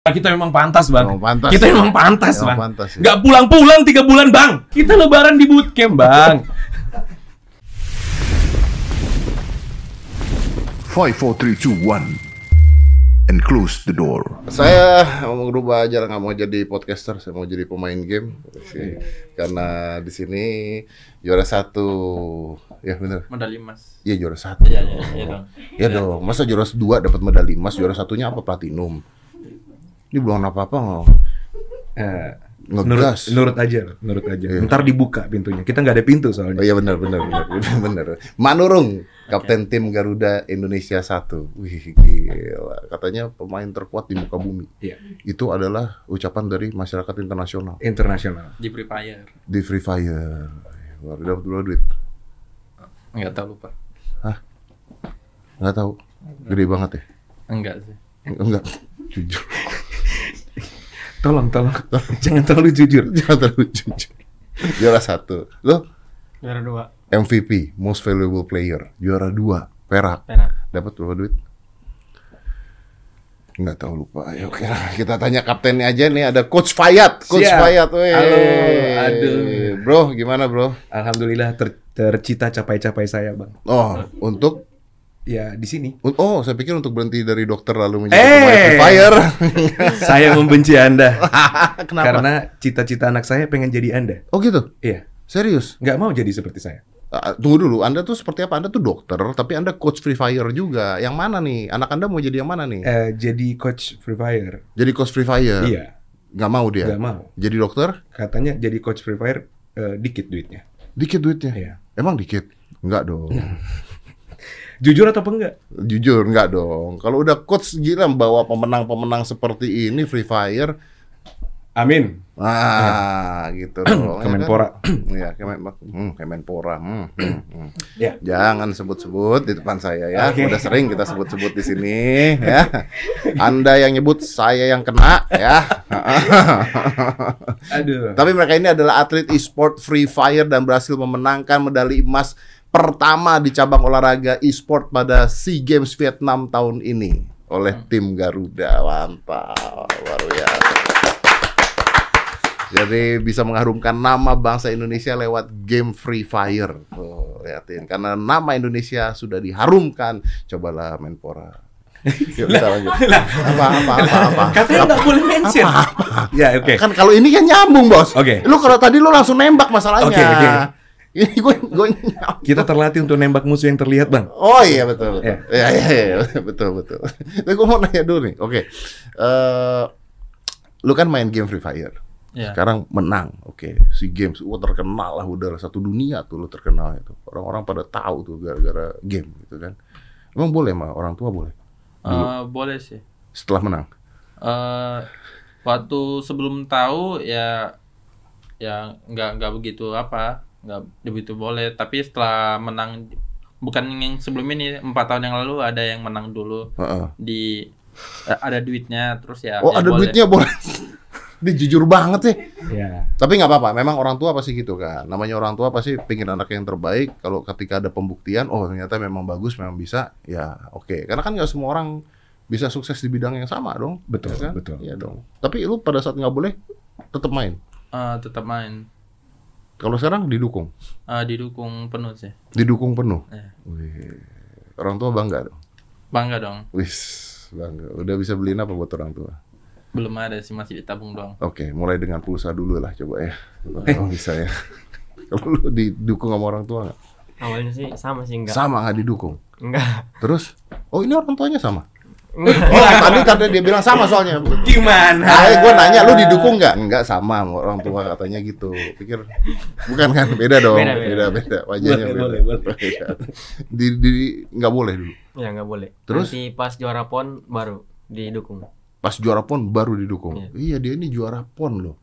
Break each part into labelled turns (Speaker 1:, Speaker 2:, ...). Speaker 1: Ah, kita memang pantas bang.
Speaker 2: Memang pantas.
Speaker 1: Kita memang pantas
Speaker 2: Memang
Speaker 1: bang.
Speaker 2: pantas, ya.
Speaker 1: Nggak pulang-pulang tiga bulan bang. Kita lebaran di bootcamp bang.
Speaker 3: Five, four, three, two, one, and close the door.
Speaker 2: Saya mau berubah aja, nggak mau jadi podcaster, saya mau jadi pemain game. Karena di sini juara satu, ya bener.
Speaker 4: medali emas.
Speaker 2: Iya juara satu.
Speaker 4: Iya, iya, iya dong.
Speaker 2: Ya dong, masa juara dua dapat medali emas, juara satunya apa platinum? Ini belum apa-apa nggak
Speaker 5: Eh, nurut,
Speaker 2: ngegas.
Speaker 5: nurut aja, nurut aja.
Speaker 2: Iya.
Speaker 5: Ntar dibuka pintunya. Kita nggak ada pintu
Speaker 2: Oh
Speaker 5: soalnya.
Speaker 2: iya benar benar benar benar, benar. Manurung, kapten tim Garuda Indonesia 1. Wih gila, katanya pemain terkuat di muka bumi.
Speaker 5: Iya.
Speaker 2: Itu adalah ucapan dari masyarakat internasional
Speaker 5: Internasional.
Speaker 4: Di Free Fire.
Speaker 2: di Free Fire. Luar dapat dua duit.
Speaker 4: Enggak tahu lupa.
Speaker 2: Enggak tahu. Gede banget ya?
Speaker 4: Enggak sih.
Speaker 2: Enggak. Jujur.
Speaker 5: Tolong, tolong. Jangan terlalu jujur.
Speaker 2: Jangan terlalu jujur. Juara satu. Lo
Speaker 6: Juara dua
Speaker 2: MVP, Most Valuable Player. Juara dua, perak.
Speaker 6: perak.
Speaker 2: Dapat berapa duit? Nggak tahu lupa. Ya, oke lah. Kita tanya kaptennya aja nih. Ada Coach Fayat. Coach
Speaker 5: Siap.
Speaker 2: Fayat. Wey.
Speaker 5: Halo, aduh.
Speaker 2: Bro, gimana bro?
Speaker 5: Alhamdulillah ter- tercita capai-capai saya, Bang.
Speaker 2: Oh, untuk
Speaker 5: Ya, di sini.
Speaker 2: un- Oh, saya pikir untuk berhenti dari dokter lalu menjadi
Speaker 5: Eh.
Speaker 2: pemain Free Fire.
Speaker 5: saya membenci Anda.
Speaker 2: Kenapa?
Speaker 5: Karena cita-cita anak saya pengen jadi Anda.
Speaker 2: Oh gitu?
Speaker 5: Iya.
Speaker 2: Serius?
Speaker 5: Nggak mau jadi seperti saya.
Speaker 2: Ah, tunggu dulu, Anda tuh seperti apa? Anda tuh dokter, tapi Anda coach Free Fire juga. Yang mana nih? Anak Anda mau jadi yang mana nih?
Speaker 5: Eh, jadi coach Free Fire.
Speaker 2: Jadi coach Free Fire?
Speaker 5: Iya.
Speaker 2: Nggak mau dia?
Speaker 5: Nggak mau.
Speaker 2: Jadi dokter?
Speaker 5: Katanya jadi coach Free Fire eh, dikit duitnya.
Speaker 2: Dikit duitnya?
Speaker 5: Iya.
Speaker 2: Emang dikit? Enggak dong.
Speaker 5: Jujur atau enggak?
Speaker 2: Jujur enggak dong. Kalau udah coach gila bawa pemenang-pemenang seperti ini Free Fire,
Speaker 5: Amin.
Speaker 2: ah gitu dong. ya kan?
Speaker 5: Kemenpora.
Speaker 2: Iya, Kemen- hmm, Kemenpora. Hmm, hmm, hmm.
Speaker 5: Ya.
Speaker 2: Jangan sebut-sebut di depan saya ya.
Speaker 5: Oke.
Speaker 2: Udah sering kita sebut-sebut di sini ya. Anda yang nyebut, saya yang kena ya.
Speaker 5: Aduh.
Speaker 2: Tapi mereka ini adalah atlet e-sport Free Fire dan berhasil memenangkan medali emas pertama di cabang olahraga e-sport pada SEA Games Vietnam tahun ini oleh tim Garuda. Mantap, luar biasa. Jadi bisa mengharumkan nama bangsa Indonesia lewat game Free Fire. Tuh, liatin. Karena nama Indonesia sudah diharumkan. Cobalah Menpora. Yuk kita lanjut. Apa, apa, apa, apa.
Speaker 4: Katanya enggak boleh mention.
Speaker 5: Ya, oke.
Speaker 2: Kan kalau ini kan nyambung, Bos.
Speaker 5: Oke.
Speaker 2: Lu kalau tadi lu langsung nembak masalahnya.
Speaker 5: Oke, oke.
Speaker 2: Ini gue gue nyambung.
Speaker 5: Kita terlatih untuk nembak musuh yang terlihat, Bang.
Speaker 2: Oh iya betul betul.
Speaker 5: Iya.
Speaker 2: Iya iya iya, betul betul. Tapi gue mau nanya dulu nih. Oke. Eh, lu kan main game Free Fire.
Speaker 4: Iya.
Speaker 2: Sekarang menang. Oke. Si games wah terkenal lah udah satu dunia tuh lu terkenal itu. Orang-orang pada tahu tuh gara-gara game gitu kan. Emang boleh mah orang tua boleh
Speaker 4: Eh, boleh sih.
Speaker 2: setelah menang.
Speaker 4: eh waktu sebelum tahu ya ya nggak nggak begitu apa nggak begitu boleh tapi setelah menang bukan yang sebelum ini empat tahun yang lalu ada yang menang dulu
Speaker 2: Heeh.
Speaker 4: di eh, ada duitnya terus ya
Speaker 2: Oh
Speaker 4: ya
Speaker 2: ada
Speaker 4: boleh.
Speaker 2: duitnya boleh. Dia jujur banget sih.
Speaker 5: Ya.
Speaker 2: Tapi nggak apa-apa, memang orang tua pasti gitu kan. Namanya orang tua pasti pingin anaknya yang terbaik. Kalau ketika ada pembuktian, oh ternyata memang bagus, memang bisa, ya oke. Karena kan nggak semua orang bisa sukses di bidang yang sama dong.
Speaker 5: Betul,
Speaker 2: Ya kan?
Speaker 5: betul.
Speaker 2: Iya dong. Tapi lu pada saat nggak boleh, tetap main.
Speaker 4: Eh, tetap main
Speaker 2: Kalau sekarang didukung,
Speaker 4: Eh, didukung penuh sih
Speaker 2: didukung penuh.
Speaker 4: Iya.
Speaker 2: Wih. Orang tua bangga dong.
Speaker 4: bangga dong
Speaker 2: Wis, bangga. Udah bisa beliin apa buat orang tua?
Speaker 4: belum ada sih masih ditabung doang
Speaker 2: Oke, mulai dengan pulsa dulu lah coba ya. Kalau bisa ya. Kalau lu didukung sama orang tua nggak?
Speaker 6: Awalnya sih sama sih enggak.
Speaker 2: Sama nggak didukung?
Speaker 6: Enggak.
Speaker 2: Terus, oh ini orang tuanya sama.
Speaker 6: Enggak.
Speaker 2: Oh tadi tadi dia bilang sama soalnya.
Speaker 5: Gimana?
Speaker 2: Nah, gue nanya lu didukung nggak? Nggak sama sama orang tua katanya gitu. Pikir bukan kan beda dong. Beda
Speaker 6: Beda, beda.
Speaker 2: beda, wajahnya
Speaker 5: Boleh,
Speaker 2: beda.
Speaker 5: boleh, boleh.
Speaker 2: Beda. Di di nggak boleh dulu.
Speaker 6: Ya enggak boleh.
Speaker 2: Terus?
Speaker 6: Nanti pas juara PON baru didukung.
Speaker 2: Pas juara pon baru didukung. Iya
Speaker 6: Iya.
Speaker 2: dia ini juara pon loh.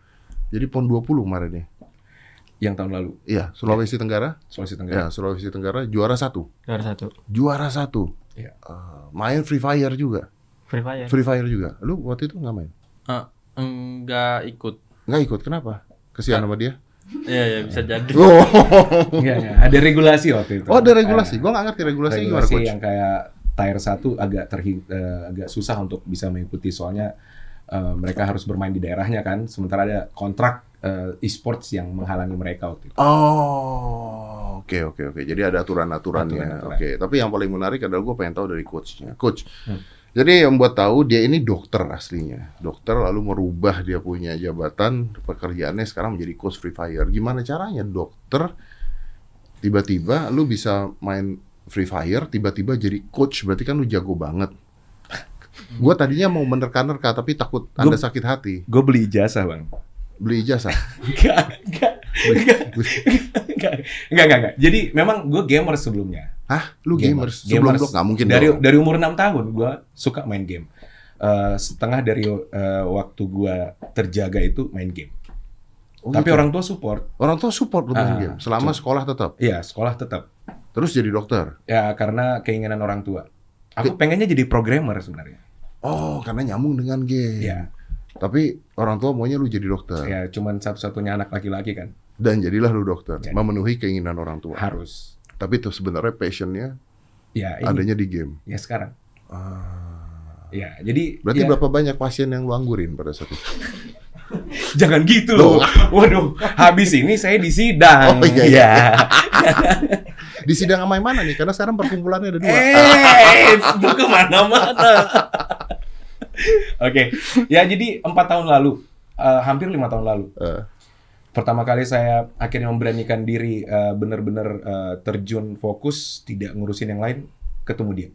Speaker 2: Jadi pon 20 kemarin ya.
Speaker 5: Yang tahun lalu,
Speaker 2: Iya Sulawesi Tenggara.
Speaker 5: Sulawesi Tenggara.
Speaker 2: Ya Sulawesi Tenggara juara satu.
Speaker 6: Juara satu.
Speaker 2: Juara satu.
Speaker 5: Iya.
Speaker 2: Eh, main free fire juga.
Speaker 6: Free Fire.
Speaker 2: Free fire juga. Lu waktu itu nggak main?
Speaker 4: Eh, enggak ikut
Speaker 2: Nggak ikut kenapa? Kesian sama dia.
Speaker 4: ya ya bisa jadi
Speaker 5: Iya, iya. ada regulasi waktu itu.
Speaker 2: Oh ada regulasi,
Speaker 5: Eh,
Speaker 2: gue gak ngerti regulasi, gimana
Speaker 5: regulasi
Speaker 2: coach?
Speaker 5: yang kayak tier 1 agak terhi- eh, agak susah untuk bisa mengikuti soalnya eh, mereka harus bermain di daerahnya kan. Sementara ada kontrak eh, e-sports yang menghalangi mereka waktu itu.
Speaker 2: Oh, oke oke oke. Jadi ada aturan-aturannya.
Speaker 5: Aturan-aturan.
Speaker 2: oke, tapi yang paling menarik adalah gue pengen tahu dari coachnya. Coach.
Speaker 5: Hmm.
Speaker 2: Jadi yang buat tahu dia ini dokter aslinya, dokter lalu merubah dia punya jabatan pekerjaannya sekarang menjadi coach free fire. Gimana caranya dokter tiba-tiba lu bisa main free fire tiba-tiba jadi coach berarti kan lu jago banget. Gue tadinya mau menerka-nerka tapi takut
Speaker 5: Gua-
Speaker 2: anda sakit hati
Speaker 5: Gue beli ijazah bang.
Speaker 2: beli ijazah.
Speaker 5: Enggak, enggak, enggak, enggak, enggak, enggak, enggak. Jadi memang gue gamer sebelumnya.
Speaker 2: Hah? Lu gamer,
Speaker 5: Gamers.
Speaker 2: sebelum
Speaker 5: Gamers.
Speaker 2: blok nggak mungkin
Speaker 5: Dari
Speaker 2: dong.
Speaker 5: dari umur 6 tahun gue suka main game. Eh, setengah dari eh, waktu gue terjaga itu main game.
Speaker 2: Oh,
Speaker 5: Tapi
Speaker 2: gitu.
Speaker 5: orang tua support,
Speaker 2: Orang tua support lu
Speaker 5: Ah,
Speaker 2: main game selama sekolah tetap.
Speaker 5: ya sekolah tetap.
Speaker 2: Terus jadi dokter.
Speaker 5: Ya karena keinginan orang tua. Aku pengennya jadi programmer sebenarnya.
Speaker 2: Oh, karena nyambung dengan game.
Speaker 5: Ya,
Speaker 2: Tapi orang tua maunya lu jadi dokter
Speaker 5: ya cuman satu-satunya anak laki-laki kan
Speaker 2: dan jadilah lu dokter,
Speaker 5: Jadi.
Speaker 2: memenuhi keinginan orang tua.
Speaker 5: harus.
Speaker 2: Tapi itu sebenarnya passionnya
Speaker 5: Ya ini
Speaker 2: adanya di game.
Speaker 5: ya sekarang. Ya jadi
Speaker 2: Ah. Berarti
Speaker 5: ya,
Speaker 2: berapa banyak pasien yang lu anggurin pada saat itu?
Speaker 5: jangan gitu loh.
Speaker 2: Loh.
Speaker 5: Waduh, habis ini saya di sidang.
Speaker 2: Oh, iya, iya.
Speaker 5: Ya.
Speaker 2: Di sidang sama yang mana nih? Karena sekarang perkumpulannya ada dua.
Speaker 5: Eh, itu kemana-mana. Oke, ya jadi empat tahun lalu, eh, hampir lima tahun lalu,
Speaker 2: Eh.
Speaker 5: pertama kali saya akhirnya memberanikan diri eh, bener-bener eh, terjun fokus, tidak ngurusin yang lain, ketemu dia.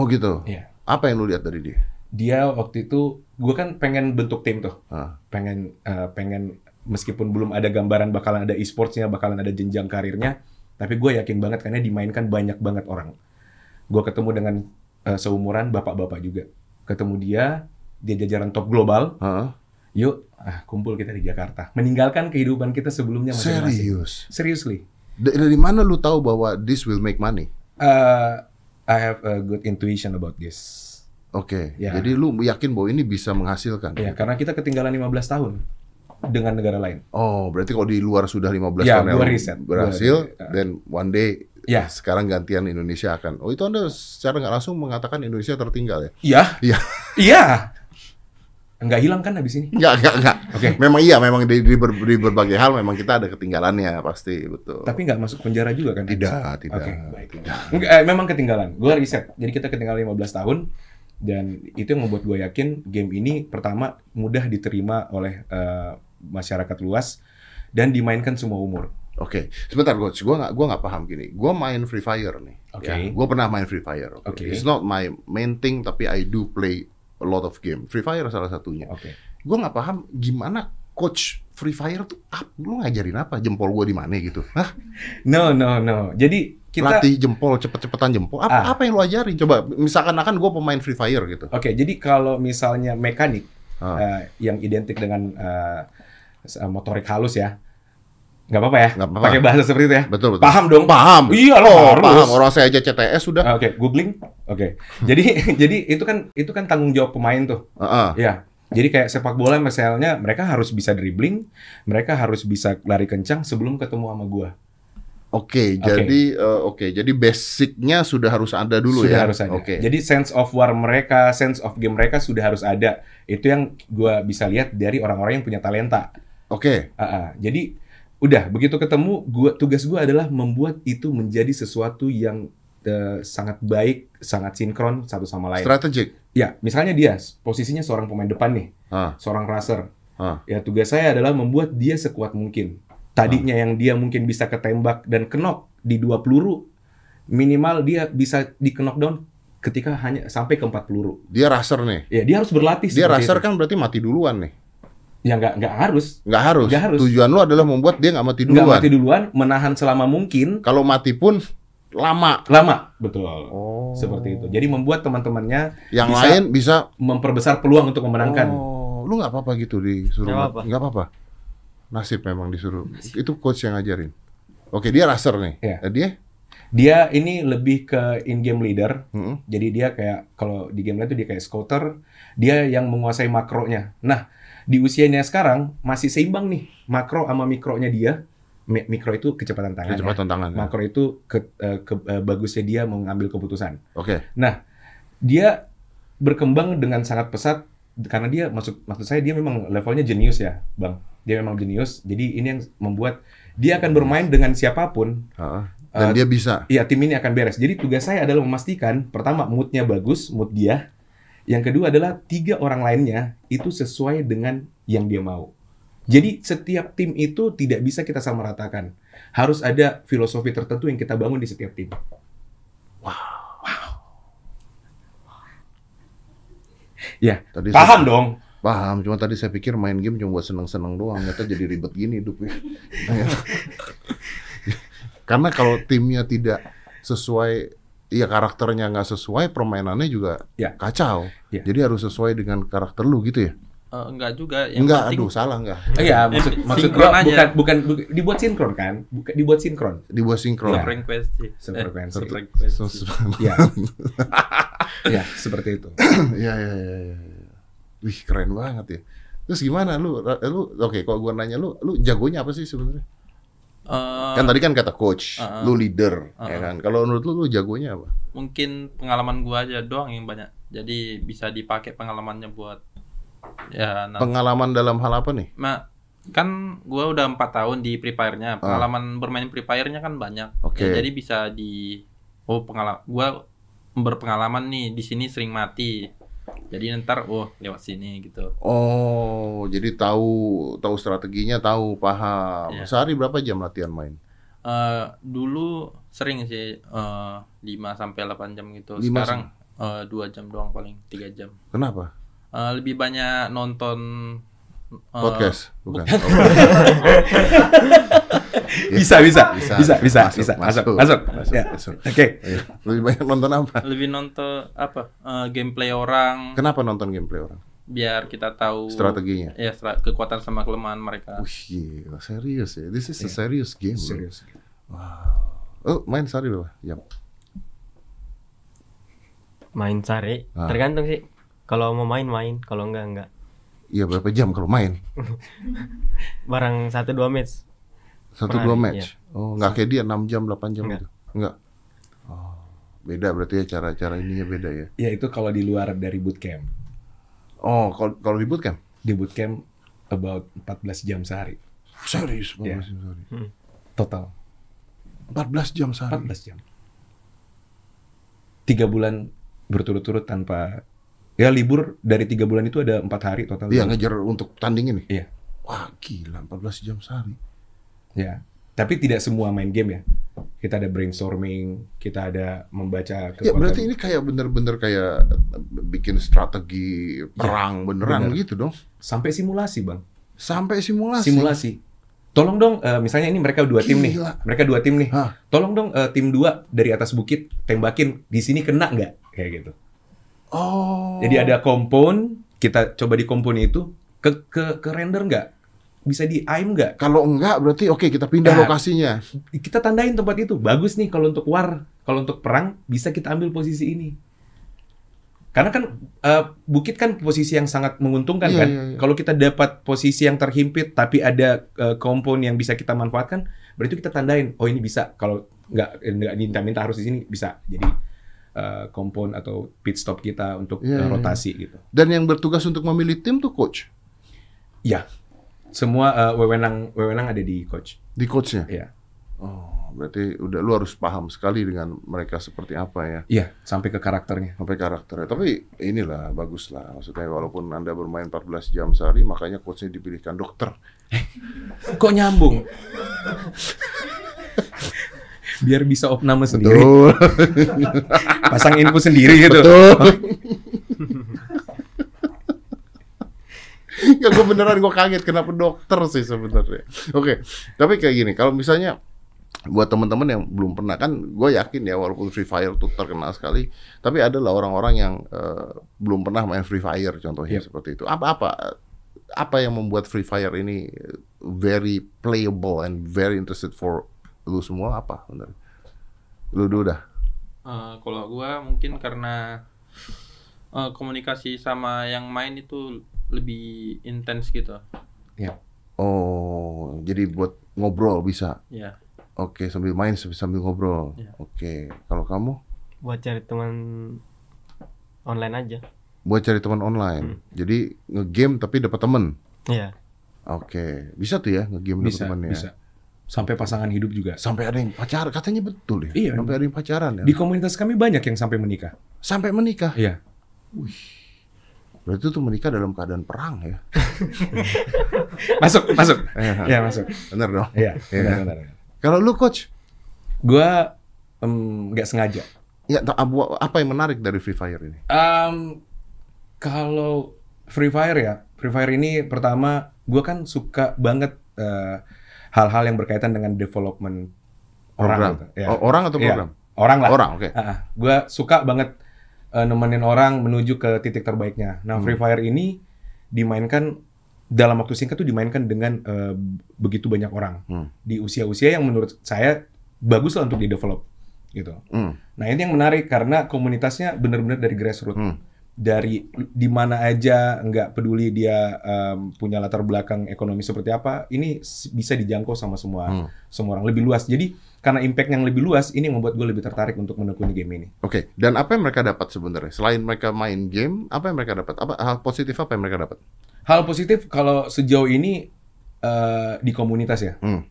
Speaker 2: Oh gitu.
Speaker 5: Iya.
Speaker 2: Apa yang lu lihat dari dia?
Speaker 5: Dia waktu itu, gue kan pengen bentuk tim tuh,
Speaker 2: Ah.
Speaker 5: pengen eh, pengen meskipun belum ada gambaran bakalan ada e-sportsnya, bakalan ada jenjang karirnya, tapi gue yakin banget karena dimainkan banyak banget orang. Gue ketemu dengan eh, seumuran bapak-bapak juga, ketemu dia, dia jajaran top global,
Speaker 2: Hah?
Speaker 5: yuk ah, kumpul kita di Jakarta, meninggalkan kehidupan kita sebelumnya masing-masing.
Speaker 2: Serius.
Speaker 5: Seriously,
Speaker 2: Da- Dari mana lu tahu bahwa this will make money?
Speaker 5: Eh, I have a good intuition about this.
Speaker 2: Oke.
Speaker 5: Ya.
Speaker 2: Jadi lu yakin bahwa ini bisa menghasilkan?
Speaker 5: Ya, karena kita ketinggalan 15 tahun dengan negara lain.
Speaker 2: Oh, berarti kalau di luar sudah 15
Speaker 5: Ya,
Speaker 2: tahun
Speaker 5: gua
Speaker 2: yang
Speaker 5: riset. Gua-
Speaker 2: berhasil,
Speaker 5: ya.
Speaker 2: dan one day
Speaker 5: Ya.
Speaker 2: sekarang gantian Indonesia akan. Oh, itu Anda secara nggak langsung mengatakan Indonesia tertinggal ya?
Speaker 5: Iya.
Speaker 2: Iya.
Speaker 5: Iya. Nggak hilang kan habis ini?
Speaker 2: Nggak, nggak, nggak.
Speaker 5: Oke.
Speaker 2: Memang iya, memang di, di ber- di berbagai hal memang kita ada ketinggalannya pasti, betul.
Speaker 5: Tapi nggak masuk penjara juga kan?
Speaker 2: tidak, tidak.
Speaker 5: Oke, baik. Nggak, eh, memang ketinggalan. Gue riset. Jadi kita ketinggalan 15 tahun. Dan itu yang membuat gue yakin game ini pertama mudah diterima oleh eh, masyarakat luas dan dimainkan semua umur.
Speaker 2: Oke, sebentar coach, gua nggak gua nggak paham gini. Gua main Free Fire nih.
Speaker 5: Oke.
Speaker 2: Ya, gua pernah main Free Fire. oke.
Speaker 5: Oke.
Speaker 2: It's not my main thing tapi I do play a lot of game. Free Fire salah
Speaker 5: Ya.
Speaker 2: satunya.
Speaker 5: Oke.
Speaker 2: gue nggak paham gimana coach Free Fire tuh ap- lu ngajarin apa jempol gue di mana gitu Hah?
Speaker 5: No, no, no. Jadi kita
Speaker 2: latih jempol cepet-cepetan jempol apa,
Speaker 5: Ah.
Speaker 2: apa yang lu ajarin coba misalkan akan gue pemain Free Fire gitu
Speaker 5: Oke, jadi kalau misalnya mekanik
Speaker 2: Ah.
Speaker 5: eh, yang identik dengan eh, s- eh, motorik halus ya, nggak apa-apa ya?
Speaker 2: Nggak apa-apa.
Speaker 5: Pakai bahasa seperti itu ya?
Speaker 2: betul betul
Speaker 5: Paham dong?
Speaker 2: paham
Speaker 5: Iya
Speaker 2: oh,
Speaker 5: loh, harus.
Speaker 2: paham orang saya aja CTS sudah
Speaker 5: Ah, Oke, Hmm. googling. Oke. Jadi jadi itu kan itu kan tanggung jawab pemain tuh.
Speaker 2: Heeh.
Speaker 5: Ya. Jadi kayak sepak bola misalnya mereka harus bisa dribbling, mereka harus bisa lari kencang sebelum ketemu sama gua.
Speaker 2: oke jadi eh, oke jadi basicnya sudah harus ada dulu
Speaker 5: sudah
Speaker 2: ya
Speaker 5: harus ada.
Speaker 2: oke
Speaker 5: Jadi sense of war mereka, sense of game mereka sudah harus ada. Itu yang gua bisa lihat dari orang-orang yang punya talenta.
Speaker 2: oke
Speaker 5: Ah, ah. jadi udah begitu ketemu gua tugas gua adalah membuat itu menjadi sesuatu yang eh, sangat baik, sangat sinkron satu sama lain.
Speaker 2: strategik
Speaker 5: ya, misalnya dia posisinya seorang pemain depan nih,
Speaker 2: Ah.
Speaker 5: seorang raser.
Speaker 2: Ah.
Speaker 5: Ya tugas saya adalah membuat dia sekuat mungkin. Tadinya
Speaker 2: Ah.
Speaker 5: yang dia mungkin bisa ketembak dan kenok di dua peluru, minimal dia bisa di knockdown ketika hanya sampai ke empat peluru.
Speaker 2: dia raser nih
Speaker 5: Ya dia harus berlatih.
Speaker 2: dia
Speaker 5: seperti
Speaker 2: raser
Speaker 5: itu.
Speaker 2: kan berarti mati duluan nih
Speaker 5: Ya nggak nggak harus.
Speaker 2: nggak harus.
Speaker 5: Nggak harus.
Speaker 2: tujuan lu adalah membuat dia nggak mati
Speaker 5: Nggak
Speaker 2: duluan
Speaker 5: mati duluan, menahan selama mungkin
Speaker 2: kalau mati pun lama
Speaker 5: lama betul
Speaker 2: Oh.
Speaker 5: seperti itu jadi membuat teman-temannya
Speaker 2: yang
Speaker 5: Bisa.
Speaker 2: lain bisa
Speaker 5: memperbesar peluang untuk memenangkan
Speaker 2: Oh, lu nggak apa-apa gitu disuruh
Speaker 6: Nggak
Speaker 2: mat-
Speaker 6: apa-apa.
Speaker 2: nggak apa-apa. Nasib memang disuruh. Itu coach yang ngajarin. Oke, dia raser nih.
Speaker 5: Iya.
Speaker 2: Eh, Dia
Speaker 5: dia ini lebih ke in game leader
Speaker 2: Mm-mm.
Speaker 5: jadi dia kayak kalau di game lain itu dia kayak scouter dia yang menguasai makronya nah di usianya sekarang masih seimbang nih makro sama mikronya dia Mi- mikro itu kecepatan tangan ya.
Speaker 2: kecepatan tangan. Oke.
Speaker 5: makro itu ke, eh, ke- eh, bagusnya dia mengambil keputusan dia berkembang dengan sangat pesat karena dia maksud maksud saya dia memang levelnya jenius ya, Bang. Dia memang jenius. Jadi ini yang membuat dia akan bermain dengan siapapun.
Speaker 2: Heeh. Dan
Speaker 5: Eh,
Speaker 2: dia bisa.
Speaker 5: Iya, tim ini akan beres. Jadi tugas saya adalah memastikan pertama moodnya bagus, mood dia. Yang kedua adalah tiga orang lainnya itu sesuai dengan yang dia mau. Jadi setiap tim itu tidak bisa kita samaratakan. Harus ada filosofi tertentu yang kita bangun di setiap tim. Wow. Ya,
Speaker 2: Tadi saya-
Speaker 5: paham dong.
Speaker 2: Paham, cuma tadi saya pikir main game cuma buat seneng-seneng doang, ternyata jadi ribet gini hidupnya. Karena kalau timnya tidak sesuai, ya karakternya nggak sesuai, permainannya juga
Speaker 5: Ya.
Speaker 2: kacau.
Speaker 5: Ya.
Speaker 2: Jadi harus sesuai dengan karakter lu gitu ya?
Speaker 4: Eh, enggak juga. Yang
Speaker 2: Enggak,
Speaker 4: penting
Speaker 2: aduh salah enggak.
Speaker 5: Iya, maksud, maksud
Speaker 4: Sinkron
Speaker 5: gua
Speaker 4: aja.
Speaker 5: bukan, bukan bukan- dibuat sinkron kan? Bukan dibuat sinkron.
Speaker 2: Dibuat sinkron.
Speaker 4: sefrekuensi. Eh,
Speaker 5: Sefrekuensi.
Speaker 4: sefrekuensi.
Speaker 5: Ya. ya, seperti itu.
Speaker 2: Iya, iya, iya, iya. Wih, keren banget ya. Terus gimana lu? Ra- Lu oke, kalau gua nanya lu, lu jagonya apa sih sebenarnya?
Speaker 4: Eh,
Speaker 5: Uh-huh.
Speaker 2: Kan tadi kan kata coach,
Speaker 4: Ah, ah.
Speaker 2: lu leader, ya
Speaker 4: Ah,
Speaker 2: kan? Kalau menurut lu lu jagonya apa?
Speaker 5: Uh-huh.
Speaker 4: mungkin pengalaman gua aja doang yang banyak. Jadi bisa dipakai pengalamannya buat ya nanti.
Speaker 2: Pengalaman dalam hal apa nih?
Speaker 4: Ma, kan gua udah empat tahun di Free Fire-nya. Pengalaman bermain Free Fire-nya kan banyak.
Speaker 2: Ah. Oke.
Speaker 4: Ya, jadi bisa di oh pengalaman gua berpengalaman nih di sini sering mati. Jadi ntar oh lewat sini gitu.
Speaker 2: Oh, jadi tahu tahu strateginya, tahu paham.
Speaker 4: Iya.
Speaker 2: Sehari berapa jam latihan main?
Speaker 4: Eh dulu sering sih eh 5 sampai 8 jam gitu.
Speaker 2: Lima
Speaker 4: Sekarang eh 2 jam doang paling, 3 jam.
Speaker 2: Kenapa?
Speaker 4: Eh lebih banyak nonton
Speaker 5: Uh,
Speaker 4: eh,
Speaker 2: Podcast, bukan. Oh.
Speaker 5: Bisa, bisa,
Speaker 2: Bisa,
Speaker 5: bisa, bisa, bisa, bisa. masuk,
Speaker 2: masuk, masuk,
Speaker 5: masuk,
Speaker 2: masuk,
Speaker 5: Ya.
Speaker 2: masuk.
Speaker 5: Oke,
Speaker 2: Iya. Lebih banyak nonton apa?
Speaker 4: lebih nonton apa? eh gameplay orang
Speaker 2: Kenapa nonton gameplay orang?
Speaker 4: biar kita tahu
Speaker 2: Strateginya.
Speaker 4: ya stra- kekuatan sama kelemahan mereka.
Speaker 2: Wih, gila, serius ya. This is a serious game. bro.
Speaker 5: serius.
Speaker 2: Oh, main sehari berapa? Jam.
Speaker 6: Main sari.
Speaker 2: Ah.
Speaker 6: Tergantung sih. Kalau mau main main, kalau enggak enggak.
Speaker 2: Iya, berapa jam kalau main?
Speaker 6: Barang satu dua match.
Speaker 2: Satu
Speaker 6: Per
Speaker 2: dua
Speaker 6: hari,
Speaker 2: match. Oh, nggak kayak dia 6 jam, 8 jam
Speaker 6: Nggak.
Speaker 2: gitu. Enggak. Oh, beda berarti ya cara-cara ininya beda ya.
Speaker 5: Ya itu kalau di luar dari bootcamp.
Speaker 2: Oh, kalau kalau di bootcamp?
Speaker 5: Di bootcamp about 14 jam sehari
Speaker 2: Serius, 14
Speaker 5: Iya.
Speaker 2: jam sehari.
Speaker 5: total.
Speaker 2: 14 jam sehari.
Speaker 5: 14 jam. Tiga bulan berturut-turut tanpa ya libur dari tiga bulan itu ada empat hari total.
Speaker 2: Iya ngejar untuk tanding ini.
Speaker 5: Iya.
Speaker 2: Wah gila 14 jam sehari.
Speaker 5: Ya. Tapi tidak semua main game ya. Kita ada brainstorming, kita ada membaca
Speaker 2: Ya berarti ini kayak bener-bener kayak eh, bikin strategi perang beneran
Speaker 5: bener.
Speaker 2: gitu dong.
Speaker 5: sampai simulasi, Bang.
Speaker 2: Sampai simulasi.
Speaker 5: simulasi. Tolong dong, eh, misalnya ini mereka dua tim nih,
Speaker 2: Gila.
Speaker 5: mereka dua tim nih.
Speaker 2: Hah.
Speaker 5: Tolong dong eh, tim dua dari atas bukit tembakin di sini kena nggak kayak gitu.
Speaker 2: Oh.
Speaker 5: Jadi ada kompon, kita coba di kompon itu ke ke, ke render nggak? Bisa di aim nggak?
Speaker 2: kalau enggak berarti oke kita pindah
Speaker 5: Nah.
Speaker 2: lokasinya.
Speaker 5: Kita tandain tempat itu bagus nih kalau untuk war, kalau untuk perang bisa kita ambil posisi ini. Karena kan eh, bukit kan posisi yang sangat menguntungkan
Speaker 2: Iya,
Speaker 5: kan.
Speaker 2: iya, iya.
Speaker 5: Kalau kita dapat posisi yang terhimpit tapi ada eh, kompon yang bisa kita manfaatkan, berarti kita tandain, oh ini bisa. Kalau nggak nggak minta-minta harus di sini bisa. Jadi eh, kompon atau pit stop kita untuk
Speaker 2: Iya,
Speaker 5: eh,
Speaker 2: iya, iya.
Speaker 5: rotasi gitu.
Speaker 2: Dan yang bertugas untuk memilih tim tuh coach
Speaker 5: Ya, semua eh, wewenang wewenang ada di coach.
Speaker 2: di coachnya.
Speaker 5: Iya.
Speaker 2: Oh berarti udah lu harus paham sekali dengan mereka seperti apa ya.
Speaker 5: Iya, sampai ke karakternya.
Speaker 2: sampai karakternya. Tapi inilah bagus lah. Maksudnya walaupun Anda bermain 14 jam sehari, makanya coachnya dipilihkan dokter.
Speaker 5: Kok nyambung? Biar bisa opname sendiri,
Speaker 2: Betul.
Speaker 5: pasang info sendiri gitu.
Speaker 2: ya gue beneran gue kaget kenapa dokter sih sebenarnya. Oke, tapi kayak gini, kalau misalnya buat teman-teman yang belum pernah kan gue yakin ya walaupun Free Fire tuh terkenal sekali tapi ada lah orang-orang yang eh, belum pernah main Free Fire contohnya
Speaker 5: Yep.
Speaker 2: seperti itu apa-apa apa yang membuat Free Fire ini very playable and very interested for lu semua apa bener lu dulu dah
Speaker 4: Eh, kalau gua mungkin karena eh, komunikasi sama yang main itu lebih intens gitu.
Speaker 2: oh jadi buat ngobrol bisa
Speaker 4: Ya.
Speaker 2: Oke, sambil main sambil, sambil ngobrol.
Speaker 4: Iya.
Speaker 2: Oke, kalau kamu
Speaker 6: Buat cari teman online aja.
Speaker 2: buat cari teman
Speaker 5: Hmm.
Speaker 2: online. Jadi ngegame tapi dapat temen.
Speaker 6: Iya.
Speaker 2: Oke, bisa tuh ya ngegame dapat
Speaker 5: bisa
Speaker 2: temen ya.
Speaker 5: bisa sampai pasangan hidup juga
Speaker 2: Sampai ada yang pacaran, katanya betul ya.
Speaker 5: Iya.
Speaker 2: Sampai ada yang pacaran ya.
Speaker 5: di komunitas kami banyak yang sampai menikah
Speaker 2: Sampai menikah.
Speaker 5: iya
Speaker 2: Berarti tuh menikah dalam keadaan perang ya.
Speaker 5: masuk masuk
Speaker 2: Eh,
Speaker 5: iya masuk
Speaker 2: Bener dong.
Speaker 5: iya
Speaker 2: Iya.
Speaker 5: benar benar
Speaker 2: Kalau lu coach,
Speaker 5: gue nggak sengaja
Speaker 2: ya ta- abu- apa yang menarik dari Free Fire ini?
Speaker 5: Em, kalau Free Fire ya, Free Fire ini pertama gue kan suka banget eh, hal-hal yang berkaitan dengan development
Speaker 2: Program.
Speaker 5: orang. gitu. Ya.
Speaker 2: O- orang atau
Speaker 5: Iya.
Speaker 2: program?
Speaker 5: Orang lah.
Speaker 2: Orang, oke.
Speaker 5: gue Ah, suka banget eh, nemenin orang menuju ke titik terbaiknya. Nah,
Speaker 2: Hmm.
Speaker 5: Free Fire ini dimainkan dalam waktu singkat tuh dimainkan dengan eh, begitu banyak orang
Speaker 2: Hmm.
Speaker 5: di usia-usia yang menurut saya bagus lah untuk di develop gitu.
Speaker 2: Hmm.
Speaker 5: Nah ini yang menarik karena komunitasnya benar-benar dari grassroots,
Speaker 2: Hmm.
Speaker 5: dari di mana aja nggak peduli dia em, punya latar belakang ekonomi seperti apa, ini s- bisa dijangkau sama semua
Speaker 2: Hmm.
Speaker 5: semua orang lebih luas. Jadi karena impact yang lebih luas ini yang membuat gue lebih tertarik untuk menekuni game ini.
Speaker 2: Oke, dan apa yang mereka dapat sebenarnya? Selain mereka main game, apa yang mereka dapat? Apa hal positif apa yang mereka dapat?
Speaker 5: Hal positif kalau sejauh ini eh, di komunitas ya.
Speaker 2: Hmm.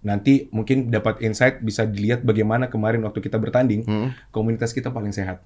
Speaker 5: Nanti mungkin dapat insight bisa dilihat bagaimana kemarin waktu kita bertanding
Speaker 2: Hmm.
Speaker 5: komunitas kita paling sehat.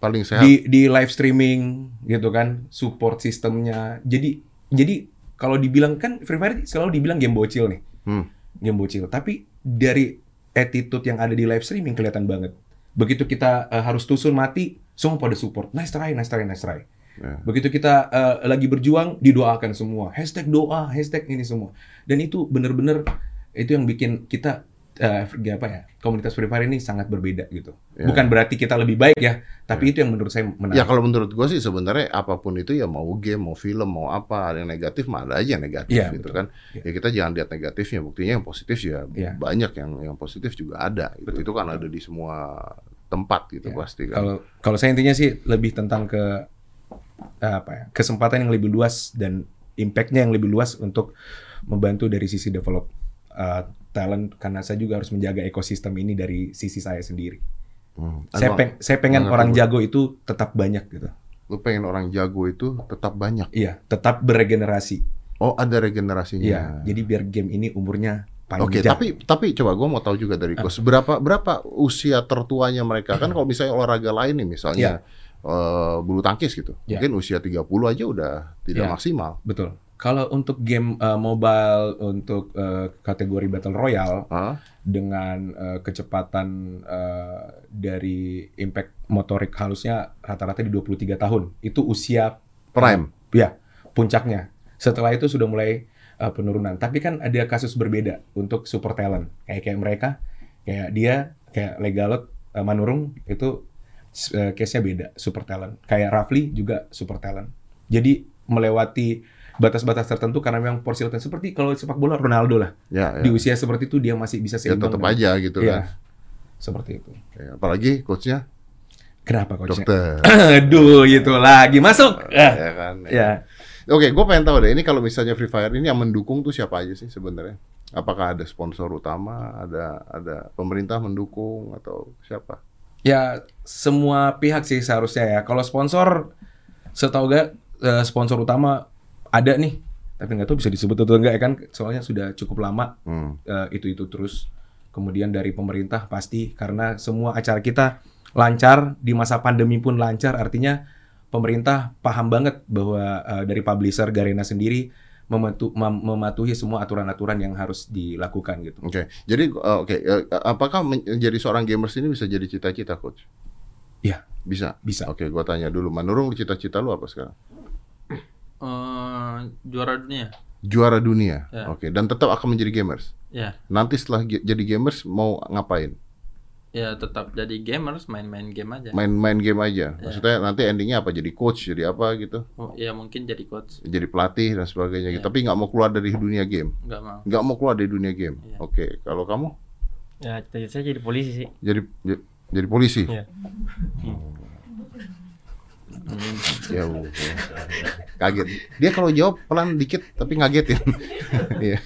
Speaker 2: Paling sehat.
Speaker 5: di di live streaming gitu kan support sistemnya jadi jadi kalau dibilang kan Free Fire selalu dibilang game bocil nih
Speaker 2: Hmm.
Speaker 5: game bocil tapi dari attitude yang ada di live streaming kelihatan banget begitu kita eh, harus tusun mati semua pada support nice try nice try nice try
Speaker 2: Ya.
Speaker 5: begitu kita eh, lagi berjuang didoakan semua hashtag doa hashtag ini semua dan itu bener-bener itu yang bikin kita eh, apa ya komunitas Free Fire ini sangat berbeda gitu
Speaker 2: Ya.
Speaker 5: bukan berarti kita lebih baik ya tapi itu yang menurut saya menarik
Speaker 2: Ya kalau menurut gue sih sebenarnya apapun itu ya mau game, mau film, mau apa ada yang negatif mah ada aja yang negatif
Speaker 5: Iya,
Speaker 2: gitu
Speaker 5: betul.
Speaker 2: kan.
Speaker 5: Iya.
Speaker 2: Ya kita jangan lihat negatifnya, buktinya yang positif ya
Speaker 5: Iya.
Speaker 2: banyak yang yang positif juga ada. Gitu.
Speaker 5: Betul.
Speaker 2: Itu kan ada di semua tempat gitu
Speaker 5: Iya.
Speaker 2: pasti kan.
Speaker 5: kalau kalau saya intinya sih lebih tentang ke apa ya kesempatan yang lebih luas dan impactnya yang lebih luas untuk membantu dari sisi develop uh, talent karena saya juga harus menjaga ekosistem ini dari sisi saya sendiri.
Speaker 2: Hmm.
Speaker 5: Saya,
Speaker 2: Abang,
Speaker 5: peng- saya pengen
Speaker 2: Bang,
Speaker 5: orang
Speaker 2: aku-
Speaker 5: jago itu tetap banyak gitu.
Speaker 2: lu pengen orang jago itu tetap banyak.
Speaker 5: Iya, tetap berregenerasi.
Speaker 2: Oh ada regenerasinya.
Speaker 5: Iya, jadi biar game ini umurnya panjang.
Speaker 2: Oke, tapi tapi coba gue mau tahu juga dari
Speaker 5: Ah.
Speaker 2: coach berapa berapa usia tertuanya mereka
Speaker 5: Hmm.
Speaker 2: kan kalau misalnya olahraga lain nih
Speaker 5: Iya.
Speaker 2: misalnya eh, bulu tangkis gitu.
Speaker 5: Ya.
Speaker 2: Mungkin usia 30 aja udah tidak
Speaker 5: Ya.
Speaker 2: maksimal.
Speaker 5: betul. Kalau untuk game uh, mobile untuk uh, kategori battle royale
Speaker 2: Hah?
Speaker 5: dengan eh, kecepatan eh, dari impact motorik halusnya rata-rata di 23 tahun. Itu usia
Speaker 2: Prime.
Speaker 5: ya puncaknya. Setelah itu sudah mulai eh, penurunan. Tapi kan ada kasus berbeda untuk super talent. Kayak kayak mereka kayak dia kayak Legalot eh, Manurung itu s- eh, case-nya beda super talent. Kayak Rafli juga super talent. Jadi melewati batas-batas tertentu karena memang porsi latihan seperti kalau sepak bola Ronaldo lah
Speaker 2: Ya, ya.
Speaker 5: Iya. di usia seperti itu dia masih bisa
Speaker 2: ya
Speaker 5: seimbang
Speaker 2: tetap
Speaker 5: dengan-
Speaker 2: aja gitu
Speaker 5: Iya.
Speaker 2: kan.
Speaker 5: Seperti itu.
Speaker 2: Ya, apalagi coachnya
Speaker 5: Kenapa coachnya?
Speaker 2: dokter.
Speaker 5: Aduh, itu lagi masuk. Ah,
Speaker 2: ya kan.
Speaker 5: Ya,
Speaker 2: Oke, gue pengen tahu deh ini kalau misalnya Free Fire ini yang mendukung tuh siapa aja sih sebenarnya? Apakah ada sponsor utama, ada ada pemerintah mendukung atau siapa?
Speaker 5: ya semua pihak sih seharusnya ya. Kalau sponsor, setahu gak eh, sponsor utama ada nih. Tapi nggak tahu bisa disebut atau enggak ya kan? Soalnya sudah cukup lama eh,
Speaker 2: Hmm.
Speaker 5: itu itu terus. Kemudian dari pemerintah pasti karena semua acara kita lancar di masa pandemi pun lancar. Artinya pemerintah paham banget bahwa eh, dari publisher Garena sendiri mematu- mem- mematuhi semua aturan-aturan yang harus dilakukan gitu.
Speaker 2: Oke, jadi eh, oke, eh, apakah menjadi seorang gamers ini bisa jadi cita-cita, coach?
Speaker 5: Iya.
Speaker 2: Bisa.
Speaker 5: Bisa.
Speaker 2: Oke, gua tanya dulu, Manurung cita-cita lu apa sekarang?
Speaker 4: Eh, juara dunia
Speaker 2: Juara dunia.
Speaker 4: Ya.
Speaker 2: Oke, dan tetap akan menjadi gamers.
Speaker 4: ya
Speaker 2: Nanti setelah ge- jadi gamers mau ngapain?
Speaker 4: ya tetap jadi gamers main-main game aja
Speaker 2: Main-main game aja.
Speaker 4: Ya.
Speaker 2: Maksudnya nanti endingnya apa? Jadi coach, jadi apa gitu?
Speaker 4: Oh, ya mungkin jadi coach
Speaker 2: Jadi pelatih dan sebagainya. gitu.
Speaker 4: Ya.
Speaker 2: Tapi nggak mau keluar dari dunia game.
Speaker 4: nggak mau
Speaker 2: Nggak mau keluar dari dunia game.
Speaker 4: Ya.
Speaker 2: Oke, kalau kamu
Speaker 6: Ya, cita-cita saya jadi polisi sih.
Speaker 2: jadi j- jadi polisi.
Speaker 6: Iya.
Speaker 2: Ya Allah. Kaget. Dia kalau jawab pelan dikit tapi ngagetin. Iya.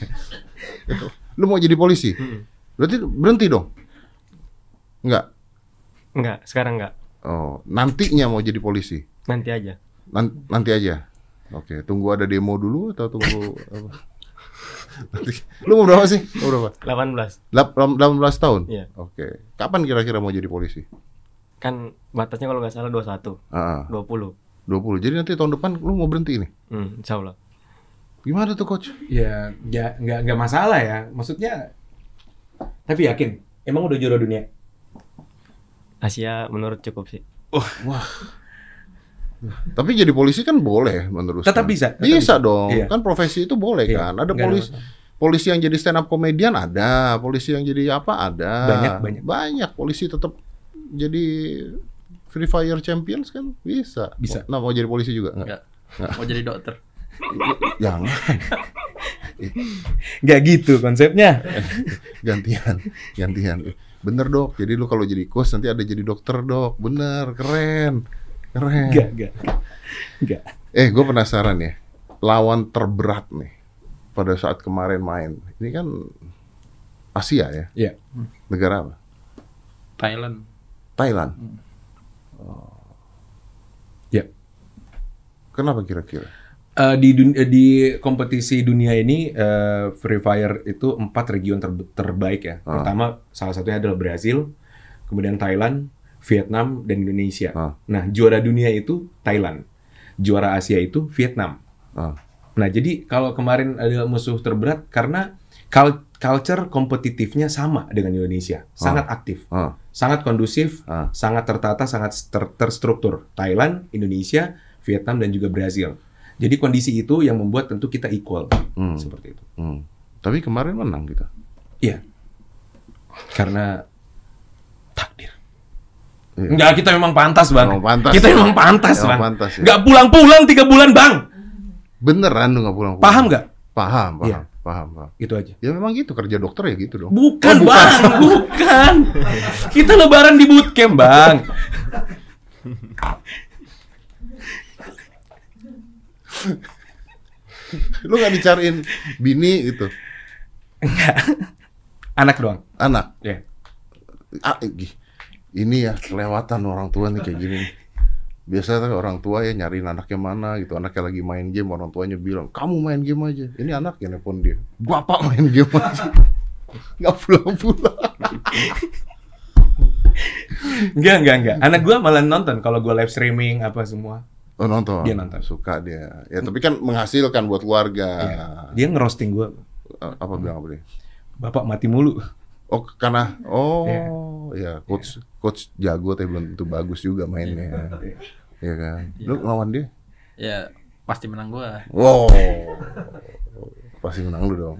Speaker 2: Lu mau jadi polisi? Berarti berhenti dong. Enggak.
Speaker 6: Enggak, sekarang enggak.
Speaker 2: Oh, nantinya mau jadi polisi.
Speaker 6: Nanti aja.
Speaker 2: Nan- nanti aja. Oke, tunggu ada demo dulu atau tunggu apa? Nanti. Lu mau berapa sih? Mau berapa?
Speaker 6: 18.
Speaker 2: Lap- lam- 18 tahun.
Speaker 6: Iya.
Speaker 2: Oke. Kapan kira-kira mau jadi polisi?
Speaker 6: Kan batasnya kalau nggak salah 21,
Speaker 2: Ah, ah,
Speaker 6: 20.
Speaker 2: 20. Jadi nanti tahun depan lu mau berhenti nih.
Speaker 6: Hmm, insya Allah.
Speaker 2: Gimana tuh coach?
Speaker 5: Ya, ya nggak nggak masalah ya. Maksudnya, tapi yakin. Emang udah juara dunia?
Speaker 6: Asia menurut cukup sih.
Speaker 2: Tapi jadi polisi kan boleh meneruskan.
Speaker 5: Tetap bisa, tetap
Speaker 2: bisa,
Speaker 5: bisa.
Speaker 2: dong.
Speaker 5: Iya.
Speaker 2: Kan profesi itu boleh
Speaker 5: Iya,
Speaker 2: kan.
Speaker 5: nggak
Speaker 2: Ada
Speaker 5: ada
Speaker 2: polisi polisi yang jadi stand up komedian ada, polisi yang jadi apa ada.
Speaker 5: Banyak, banyak.
Speaker 2: Banyak polisi tetap jadi Free Fire Champions kan bisa.
Speaker 5: Bisa.
Speaker 2: Nah, mau jadi polisi juga enggak?
Speaker 4: Nggak. Mau jadi dokter.
Speaker 2: Jangan
Speaker 5: Nggak gitu konsepnya.
Speaker 2: gantian, gantian. Bener dok. Jadi lu kalau jadi coach nanti ada jadi dokter dok. Bener, keren. Keren.
Speaker 5: Nggak, nggak. Nggak.
Speaker 2: Eh, gue penasaran ya. Lawan terberat nih pada saat kemarin main. Ini kan Asia ya.
Speaker 5: Iya.
Speaker 2: Negara apa?
Speaker 4: Thailand.
Speaker 2: Thailand.
Speaker 5: Oh.
Speaker 2: Ya.
Speaker 5: Iya.
Speaker 2: Kenapa kira-kira?
Speaker 5: Eh, di dun- eh, di kompetisi dunia ini eh, Free Fire itu empat region ter- terbaik ya.
Speaker 2: Ah.
Speaker 5: Pertama salah satunya adalah Brazil, kemudian Thailand, Vietnam dan Indonesia.
Speaker 2: Ah.
Speaker 5: Nah, juara dunia itu Thailand. Juara Asia itu Vietnam.
Speaker 2: Ah.
Speaker 5: Nah, jadi kalau kemarin adalah musuh terberat karena kal- culture kompetitifnya sama dengan Indonesia. Sangat aktif,
Speaker 2: Ah.
Speaker 5: sangat kondusif,
Speaker 2: Ah.
Speaker 5: sangat tertata, sangat ter- terstruktur. Thailand, Indonesia, Vietnam dan juga Brazil. Jadi kondisi itu yang membuat tentu kita equal
Speaker 2: Hmm.
Speaker 5: seperti itu.
Speaker 2: Hmm. Tapi kemarin menang kita.
Speaker 5: Iya. Karena takdir.
Speaker 2: Iya.
Speaker 5: Enggak, Ya, kita memang pantas, Bang.
Speaker 2: Emang pantas.
Speaker 5: Kita memang pantas,
Speaker 2: Emang
Speaker 5: Bang.
Speaker 2: pantas, ya.
Speaker 5: Nggak
Speaker 1: pulang-pulang tiga bulan bang.
Speaker 2: Beneran lu nggak pulang?
Speaker 5: paham nggak?
Speaker 2: Paham, paham,
Speaker 5: Iya.
Speaker 2: paham, paham.
Speaker 5: Itu aja.
Speaker 2: Ya memang gitu kerja dokter ya gitu dong.
Speaker 1: Bukan bang, bukan. Kita lebaran di bootcamp bang.
Speaker 2: Lu nggak dicariin bini gitu,
Speaker 5: Anak doang.
Speaker 2: anak.
Speaker 5: Ya.
Speaker 2: ah, ih, ini ya kelewatan orang tua nih kayak gini. Biasanya tuh orang tua ya nyariin anaknya mana gitu. Anaknya lagi main game, orang tuanya bilang, kamu main game aja. Ini anak yang nelfon dia. Bapak main game aja. Nggak pulang-pulang.
Speaker 5: Enggak, enggak, enggak. Anak gua malah nonton kalau gua live streaming apa semua.
Speaker 2: Oh nonton?
Speaker 5: Dia nonton.
Speaker 2: Suka dia. Ya tapi kan menghasilkan buat keluarga.
Speaker 5: Iya.
Speaker 2: Ah.
Speaker 5: Dia ngerosting gua.
Speaker 2: Eh, Apa bilang apa dia?
Speaker 5: Bapak mati mulu.
Speaker 2: Oh karena, oh
Speaker 5: Iya.
Speaker 2: ya coach coach jago tapi belum tentu bagus juga mainnya. Iya kan? Lu lawan dia?
Speaker 4: Ya pasti menang gua.
Speaker 2: Wow. Pasti menang lu dong.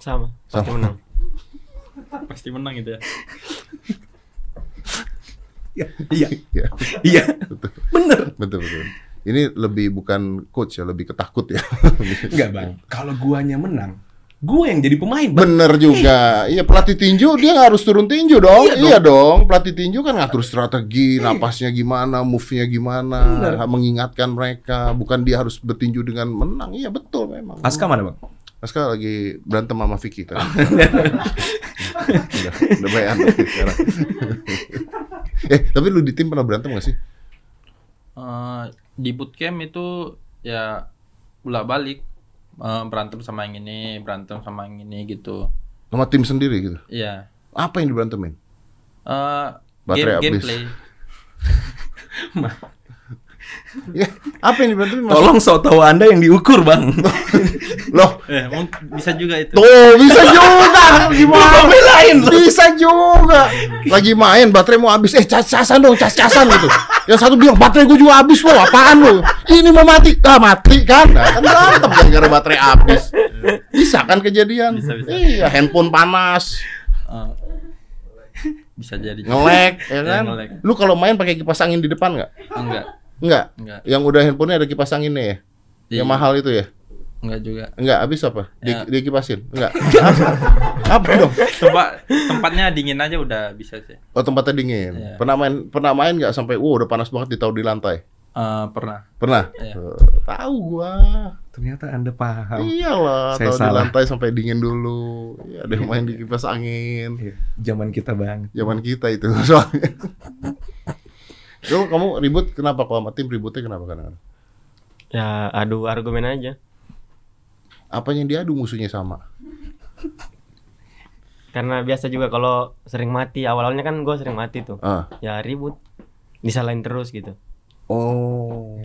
Speaker 6: Sama, pasti
Speaker 2: Sama.
Speaker 6: menang.
Speaker 4: Pasti menang gitu ya.
Speaker 5: Iya, iya,
Speaker 2: Ya.
Speaker 5: iya. Bener.
Speaker 2: Betul betul. Ini lebih bukan coach ya, lebih ketakut ya.
Speaker 5: Enggak, Bang. Kalau guanya menang, gua yang jadi pemain, Bang.
Speaker 2: Bener juga. Iya pelatih tinju dia nggak harus turun tinju dong.
Speaker 5: Iya
Speaker 2: Iya,
Speaker 5: dong. Iya.
Speaker 2: dong. Pelatih tinju kan ngatur strategi, napasnya gimana, move-nya gimana, mengingatkan mereka. Bukan dia harus bertinju dengan menang. Iya betul memang.
Speaker 5: Aska mana, Bang?
Speaker 2: Aska lagi berantem sama Vicky tadi. udah, udah bayan sekarang. eh tapi lu di tim pernah berantem gak sih?
Speaker 4: Eh, di bootcamp itu ya bolak balik berantem sama yang ini, berantem sama yang ini gitu.
Speaker 2: Sama tim sendiri gitu.
Speaker 4: Iya.
Speaker 2: Apa yang diberantemin?
Speaker 4: Eh,
Speaker 2: Baterai habis.
Speaker 4: game gameplay.
Speaker 2: Ya, apa yang diberantemin? Mas?
Speaker 5: Tolong so tahu Anda yang diukur, Bang.
Speaker 2: Loh,
Speaker 4: Eh, mung- bisa juga itu.
Speaker 2: Tuh bisa juga gimana? Bisa juga. Lagi main baterai mau habis eh cas-casan dong, cas-casan gitu. Yang satu bilang baterai gue juga habis lo, apaan lo? Ini mau mati, ah mati kan? Nah, kan berantem gara-gara baterai habis. Bisa kan kejadian? Iya, handphone panas,
Speaker 4: Eh, bisa jadi.
Speaker 2: ngelek, ya
Speaker 4: Iya,
Speaker 2: kan?
Speaker 4: nge-lag.
Speaker 2: Lu kalau main pakai kipas angin di depan nggak?
Speaker 4: Enggak,
Speaker 2: Nggak.
Speaker 4: enggak.
Speaker 2: Yang udah handphonenya ada kipas anginnya ya?
Speaker 4: Di-
Speaker 2: Yang mahal itu ya?
Speaker 4: Enggak juga.
Speaker 2: Nggak, habis apa? Di,
Speaker 4: Ya.
Speaker 2: Dikipasin? Nggak. apa dong?
Speaker 4: Coba tempatnya dingin aja udah bisa sih.
Speaker 2: Oh tempatnya dingin.
Speaker 4: Iya.
Speaker 2: Pernah main pernah main nggak sampai wow udah panas banget ditaruh di lantai.
Speaker 4: Eh, pernah.
Speaker 2: Pernah?
Speaker 4: Iya.
Speaker 2: Eh, tahu gua.
Speaker 5: Ternyata Anda paham.
Speaker 2: Iyalah,
Speaker 5: Saya
Speaker 2: taruh di
Speaker 5: salah.
Speaker 2: lantai sampai dingin dulu. Ya, ada yang main di kipas angin.
Speaker 5: Iya, Zaman kita, Bang.
Speaker 2: Zaman kita itu soalnya. Dulu kamu ribut kenapa kalau sama tim ributnya kenapa kadang-kadang?
Speaker 6: ya adu argumen aja
Speaker 2: Apa yang diadu musuhnya sama?
Speaker 6: karena biasa juga kalau sering mati awal-awalnya kan gue sering mati tuh
Speaker 2: Ah.
Speaker 6: ya ribut disalahin terus gitu
Speaker 2: Oh.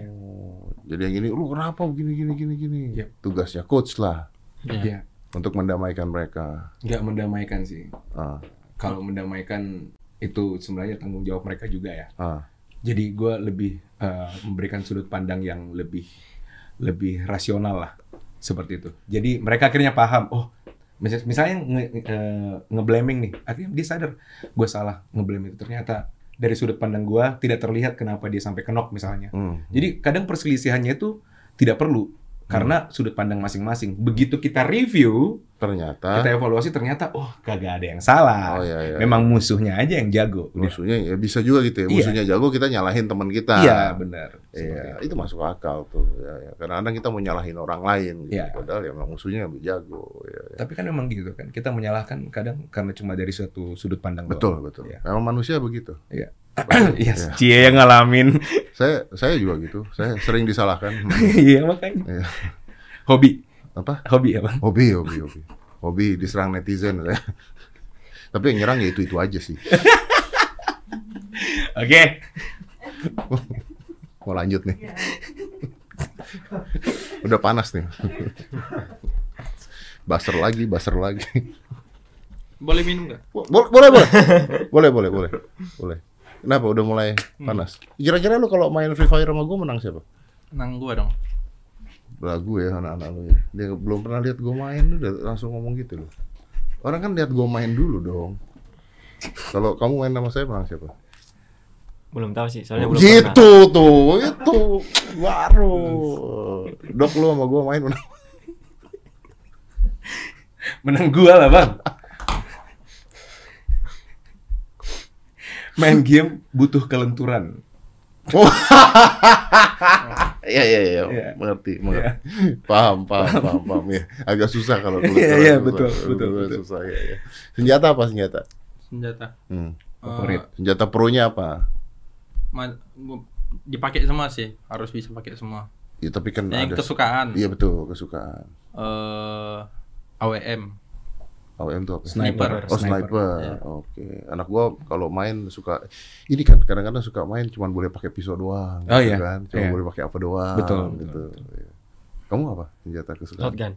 Speaker 2: Jadi yang gini, lu kenapa begini gini gini gini?
Speaker 5: Iya.
Speaker 2: Tugasnya coach lah
Speaker 4: Iya.
Speaker 5: Ya,
Speaker 2: untuk mendamaikan mereka.
Speaker 5: nggak mendamaikan sih.
Speaker 2: Ah,
Speaker 5: Kalau mendamaikan itu sebenarnya tanggung jawab mereka juga ya.
Speaker 2: ah.
Speaker 5: Jadi gue lebih eh, memberikan sudut pandang yang lebih lebih rasional lah seperti itu. Jadi mereka akhirnya paham. Oh, mis- misalnya nge, eh, ngeblaming nih, akhirnya dia sadar gue salah ngeblaming itu ternyata dari sudut pandang gue tidak terlihat kenapa dia sampai kenok misalnya.
Speaker 2: Hmm.
Speaker 5: Jadi kadang perselisihannya itu tidak perlu karena sudut pandang masing-masing. Begitu kita review,
Speaker 2: Ternyata.
Speaker 5: kita evaluasi ternyata oh kagak ada yang salah.
Speaker 2: Oh iya iya.
Speaker 5: Memang musuhnya aja yang jago. Udah.
Speaker 2: musuhnya ya bisa juga gitu ya.
Speaker 5: Iya.
Speaker 2: Musuhnya jago kita nyalahin teman kita.
Speaker 5: Iya benar. Seperti
Speaker 2: Iya, itu masuk akal tuh. Ya, ya. Kadang-kadang kita mau nyalahin orang lain, gitu.
Speaker 5: Iya.
Speaker 2: padahal ya memang musuhnya lebih jago. Ya, ya.
Speaker 5: Tapi kan memang gitu kan, kita menyalahkan kadang karena cuma dari suatu sudut pandang
Speaker 2: Betul
Speaker 5: doang.
Speaker 2: betul.
Speaker 5: Iya.
Speaker 2: Memang manusia begitu.
Speaker 5: Yes,
Speaker 2: Iya.
Speaker 5: cie yang ngalamin.
Speaker 2: Saya saya juga gitu. Saya sering disalahkan.
Speaker 5: Iya makanya.
Speaker 2: Iya.
Speaker 5: Hobi,
Speaker 2: Apa?
Speaker 5: hobi ya bang.
Speaker 2: Hobi, hobi, hobi. Hobi diserang netizen saya. Tapi yang nyerang ya itu itu aja sih.
Speaker 5: Oke.
Speaker 2: Mau lanjut
Speaker 5: Iya.
Speaker 2: nih. Udah panas nih. Baser lagi, baser lagi.
Speaker 4: Boleh minum nggak?
Speaker 2: Bo- boleh boleh boleh boleh boleh boleh kenapa udah mulai panas kira-kira lu kalau main free fire sama gue menang siapa
Speaker 4: Nang gua dong.
Speaker 2: lagu ya anak-anak lu ya dia belum pernah lihat gue main udah langsung ngomong gitu loh orang kan lihat gue main dulu dong kalau kamu main sama saya menang siapa
Speaker 6: belum tahu sih soalnya belum pernah
Speaker 2: gitu tuh itu baru dok lu sama gue main menang
Speaker 5: Menang gua lah bang. Main game butuh kelenturan.
Speaker 2: iya iya iya
Speaker 5: Iya.
Speaker 2: mengerti mengerti paham paham paham paham ya agak susah kalau keluar
Speaker 5: Iya, iya, betul, betul, betul.
Speaker 2: susah ya, ya. senjata apa senjata
Speaker 4: Senjata.
Speaker 2: Hmm.
Speaker 5: Favorit.
Speaker 4: Eh,
Speaker 2: Senjata pro-nya apa?
Speaker 4: ma- gua- dipakai semua sih, harus bisa pakai semua.
Speaker 2: Ya, tapi kan
Speaker 4: Yang
Speaker 2: ada.
Speaker 4: kesukaan.
Speaker 2: Iya betul, kesukaan.
Speaker 4: eh AWM.
Speaker 2: AWM itu apa?
Speaker 4: Sniper. Ya.
Speaker 2: Oh sniper, oke. Anak gua kalau main suka, ini kan kadang-kadang suka main cuman boleh pakai pisau doang,
Speaker 5: Oh, iya.
Speaker 2: kan?
Speaker 5: Iya.
Speaker 2: Cuma boleh pakai apa doang,
Speaker 5: Betul,
Speaker 2: gitu. Iya. Kamu apa senjata kesukaan?
Speaker 6: shotgun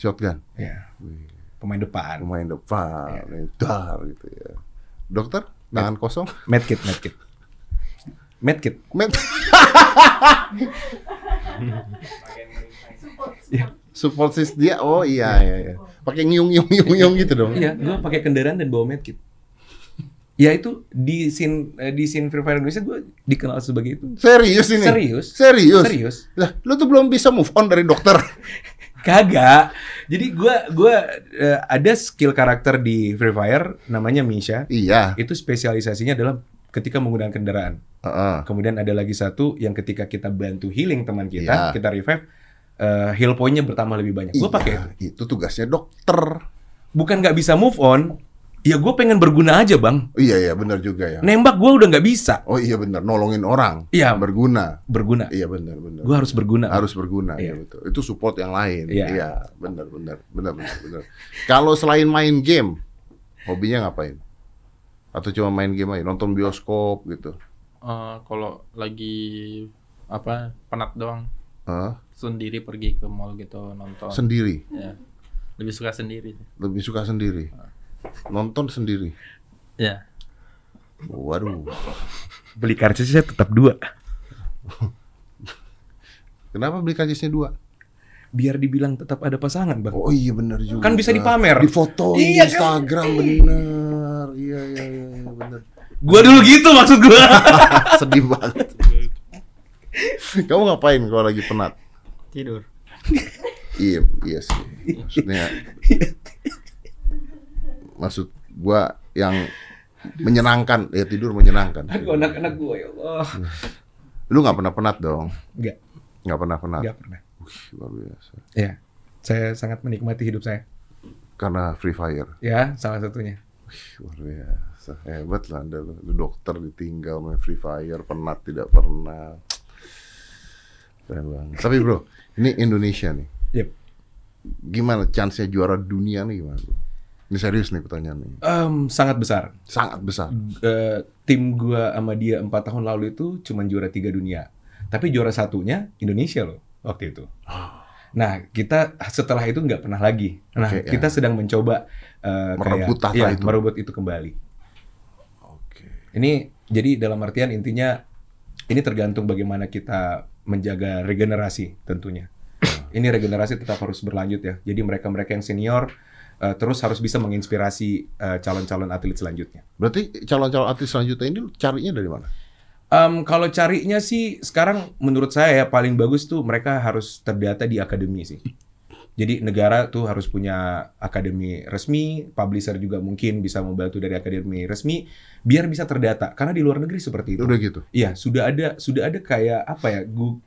Speaker 2: Shotgun.
Speaker 5: Iya.
Speaker 2: Wih,
Speaker 5: Pemain depan.
Speaker 2: Pemain depan,
Speaker 5: Iya.
Speaker 2: yeah. dar gitu ya. Dokter, tangan kosong?
Speaker 5: Medkit, medkit. Medkit.
Speaker 2: Med.
Speaker 5: Iya.
Speaker 2: Support system dia, oh iya iya iya. Pakai nyung nyung nyung nyung gitu dong.
Speaker 5: Iya, gue pakai kendaraan dan bawa medkit. Ya itu di scene eh, di scene Free Fire Indonesia gue dikenal sebagai itu.
Speaker 2: Serius ini?
Speaker 5: Serius.
Speaker 2: Serius?
Speaker 5: Serius.
Speaker 2: Lah, lu tuh belum bisa move on dari dokter.
Speaker 5: Kagak. Jadi gue gua eh, ada skill karakter di Free Fire namanya Misha.
Speaker 2: iya.
Speaker 5: Itu spesialisasinya adalah ketika menggunakan kendaraan.
Speaker 2: Heeh.
Speaker 5: Kemudian ada lagi satu yang ketika kita bantu healing teman kita,
Speaker 2: Iya.
Speaker 5: kita revive, eh, heal point-nya bertambah lebih banyak. Gue
Speaker 2: Iya,
Speaker 5: pakai itu.
Speaker 2: itu tugasnya dokter.
Speaker 5: Bukan nggak bisa move on, ya gue pengen berguna aja bang.
Speaker 2: Oh, iya iya benar juga ya.
Speaker 5: Nembak gue udah nggak bisa.
Speaker 2: Oh iya benar, nolongin orang.
Speaker 5: Iya.
Speaker 2: Berguna.
Speaker 5: Berguna.
Speaker 2: Iya benar benar.
Speaker 5: Gue harus berguna.
Speaker 2: harus berguna iya.
Speaker 5: Iya.
Speaker 2: betul. Itu support yang lain.
Speaker 5: Iya.
Speaker 2: Iya, benar benar benar benar benar. Kalau selain main game, hobinya ngapain? Atau cuma main game aja, nonton bioskop gitu.
Speaker 4: Eh, kalau lagi apa penat doang
Speaker 2: Hah?
Speaker 4: sendiri pergi ke mall gitu nonton.
Speaker 2: Sendiri,
Speaker 4: ya. Lebih suka sendiri.
Speaker 2: lebih suka sendiri. Nonton sendiri.
Speaker 4: Ya.
Speaker 2: Waduh.
Speaker 5: Beli karcisnya tetap dua.
Speaker 2: Kenapa beli karcisnya dua?
Speaker 5: Biar dibilang tetap ada pasangan bang.
Speaker 2: Oh iya benar juga.
Speaker 5: Kan bisa dipamer.
Speaker 2: Di foto di
Speaker 5: Iya, kan?
Speaker 2: Instagram bener. Iya iya iya iya, bener.
Speaker 5: Gue dulu gitu maksud gue.
Speaker 2: Sedih banget. Kamu ngapain kalau lagi penat?
Speaker 6: tidur
Speaker 2: Iya iya sih. Maksudnya maksud gua yang menyenangkan ya tidur menyenangkan.
Speaker 5: Aduh anak-anak gue ya Allah.
Speaker 2: Lu nggak pernah penat dong?
Speaker 5: Nggak.
Speaker 2: Nggak pernah penat.
Speaker 5: Nggak pernah.
Speaker 2: Wih, luar biasa.
Speaker 5: Iya. Saya sangat menikmati hidup saya.
Speaker 2: Karena free fire.
Speaker 5: Ya, salah satunya.
Speaker 2: Luar biasa. Hebat lah Anda. lu. Lu dokter ditinggal main Free Fire, penat tidak pernah.
Speaker 5: Keren banget.
Speaker 2: Tapi bro, ini Indonesia nih.
Speaker 5: Yep.
Speaker 2: Gimana chance-nya juara dunia nih gimana? bro? Ini serius nih pertanyaan nih.
Speaker 5: Em, sangat besar.
Speaker 2: Sangat besar.
Speaker 5: Eh, tim gua sama dia empat tahun lalu itu cuman juara tiga dunia. Tapi juara satunya Indonesia loh waktu itu. Nah kita setelah itu nggak pernah lagi. Nah
Speaker 2: Oke, ya.
Speaker 5: kita sedang mencoba eh, kayak-
Speaker 2: Merebut tahta
Speaker 5: iya,
Speaker 2: itu.
Speaker 5: merebut itu kembali.
Speaker 2: Oke.
Speaker 5: Ini jadi dalam artian intinya ini tergantung bagaimana kita menjaga regenerasi tentunya. ini regenerasi tetap harus berlanjut ya. Jadi mereka-mereka yang senior eh, terus harus bisa menginspirasi eh, calon-calon atlet selanjutnya.
Speaker 2: Berarti calon-calon artis selanjutnya ini lu carinya dari mana?
Speaker 5: Em, kalau carinya sih sekarang menurut saya ya paling bagus tuh mereka harus terdata di akademi sih. Jadi negara tuh harus punya akademi resmi, publisher juga mungkin bisa membantu dari akademi resmi biar bisa terdata karena di luar negeri seperti itu.
Speaker 2: Udah gitu.
Speaker 5: Iya, sudah ada sudah ada kayak apa ya? Gu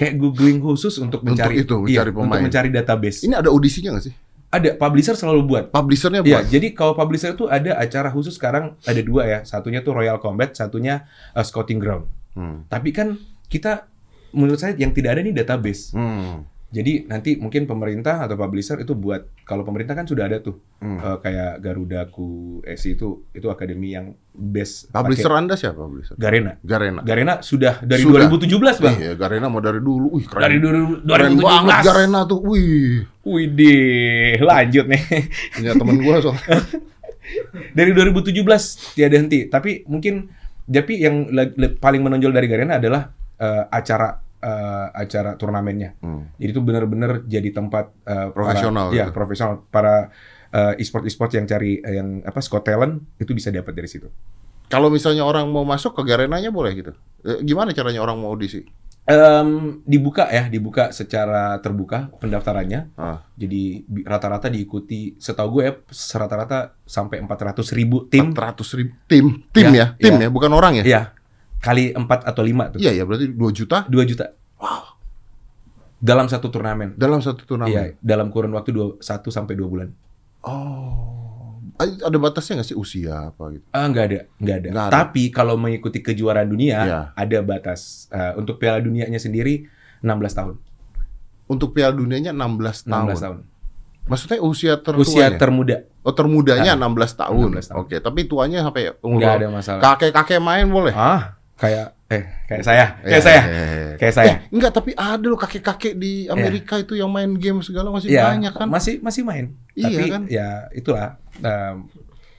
Speaker 5: kayak googling khusus untuk
Speaker 2: Untuk
Speaker 5: mencari
Speaker 2: itu,
Speaker 5: iya,
Speaker 2: mencari
Speaker 5: untuk
Speaker 2: pemain.
Speaker 5: mencari database.
Speaker 2: Ini ada audisinya nggak sih?
Speaker 5: Ada publisher selalu buat
Speaker 2: Publishernya
Speaker 5: Iya,
Speaker 2: buat.
Speaker 5: jadi kalau publisher itu ada acara khusus sekarang ada dua ya. Satunya tuh Royal Combat, satunya eh, Scouting Ground.
Speaker 2: Hmm.
Speaker 5: Tapi kan kita menurut saya yang tidak ada nih database.
Speaker 2: Hmm.
Speaker 5: Jadi nanti mungkin pemerintah atau publisher itu buat kalau pemerintah kan sudah ada tuh
Speaker 2: Hmm.
Speaker 5: Eh, kayak Garudaku, SI itu itu akademi yang best pakai.
Speaker 2: Publisher Anda siapa publisher?
Speaker 5: Garena.
Speaker 2: Garena.
Speaker 5: Garena sudah dari
Speaker 2: Sudah.
Speaker 5: 2017, Bang.
Speaker 2: Iya, Garena mau dari dulu. Wih, keren.
Speaker 5: Dari dulu-
Speaker 2: Keren
Speaker 5: 2017.
Speaker 2: banget Garena tuh. Wih,
Speaker 5: Widih, lanjut nih.
Speaker 2: punya temen gua soalnya.
Speaker 5: dari 2017 tiada henti. Tapi mungkin tapi yang le- le- paling menonjol dari Garena adalah eh, acara eh, acara turnamennya.
Speaker 2: Hmm.
Speaker 5: Jadi itu benar-benar jadi tempat eh, para-
Speaker 2: Profesional
Speaker 5: Iya,
Speaker 2: gitu.
Speaker 5: profesional para eh, e-sport e-sport yang cari eh, yang apa Scott talent itu bisa dapat dari situ.
Speaker 2: Kalau misalnya orang mau masuk ke Garenanya boleh gitu. Eh, gimana caranya orang mau audisi?
Speaker 5: Em, dibuka ya, dibuka secara terbuka pendaftarannya.
Speaker 2: Ah.
Speaker 5: Jadi bi- rata-rata diikuti setahu gue ya rata-rata sampai 400 ribu tim.
Speaker 2: 400 ribu tim, tim
Speaker 5: Ya,
Speaker 2: ya, tim ya, bukan orang ya.
Speaker 5: Iya. Kali 4 atau 5 tuh.
Speaker 2: Iya ya, berarti 2 juta
Speaker 5: 2 juta. Dalam satu turnamen.
Speaker 2: dalam satu turnamen.
Speaker 5: Iya, dalam kurun waktu 2 1 sampai 2 bulan.
Speaker 2: Oh. A- Ada batasnya nggak sih usia apa gitu?
Speaker 5: Ah, nggak ada, nggak ada.
Speaker 2: Nggak ada.
Speaker 5: Tapi kalau mengikuti kejuaraan dunia
Speaker 2: Iya.
Speaker 5: ada batas. Eh, untuk Piala Dunianya sendiri 16 tahun.
Speaker 2: Untuk Piala Dunianya 16 tahun.
Speaker 5: 16 tahun.
Speaker 2: Maksudnya usia tertuanya?
Speaker 5: Usia termuda
Speaker 2: oh, termudanya 16 tahun.
Speaker 5: 16 Nah. tahun.
Speaker 2: Oke, tapi tuanya sampai
Speaker 5: nggak ada
Speaker 2: umur
Speaker 5: masalah.
Speaker 2: kakek-kakek main boleh?
Speaker 5: Ah, kayak iya, eh kayak saya,
Speaker 2: Ya,
Speaker 5: kayak saya,
Speaker 2: ya, ya.
Speaker 5: kayak saya.
Speaker 2: Enggak, tapi ada loh kakek-kakek di Amerika itu yang main game segala masih
Speaker 5: Iya,
Speaker 2: banyak kan?
Speaker 5: masih masih main.
Speaker 2: Iya,
Speaker 5: Tapi
Speaker 2: kan?
Speaker 5: ya itulah em,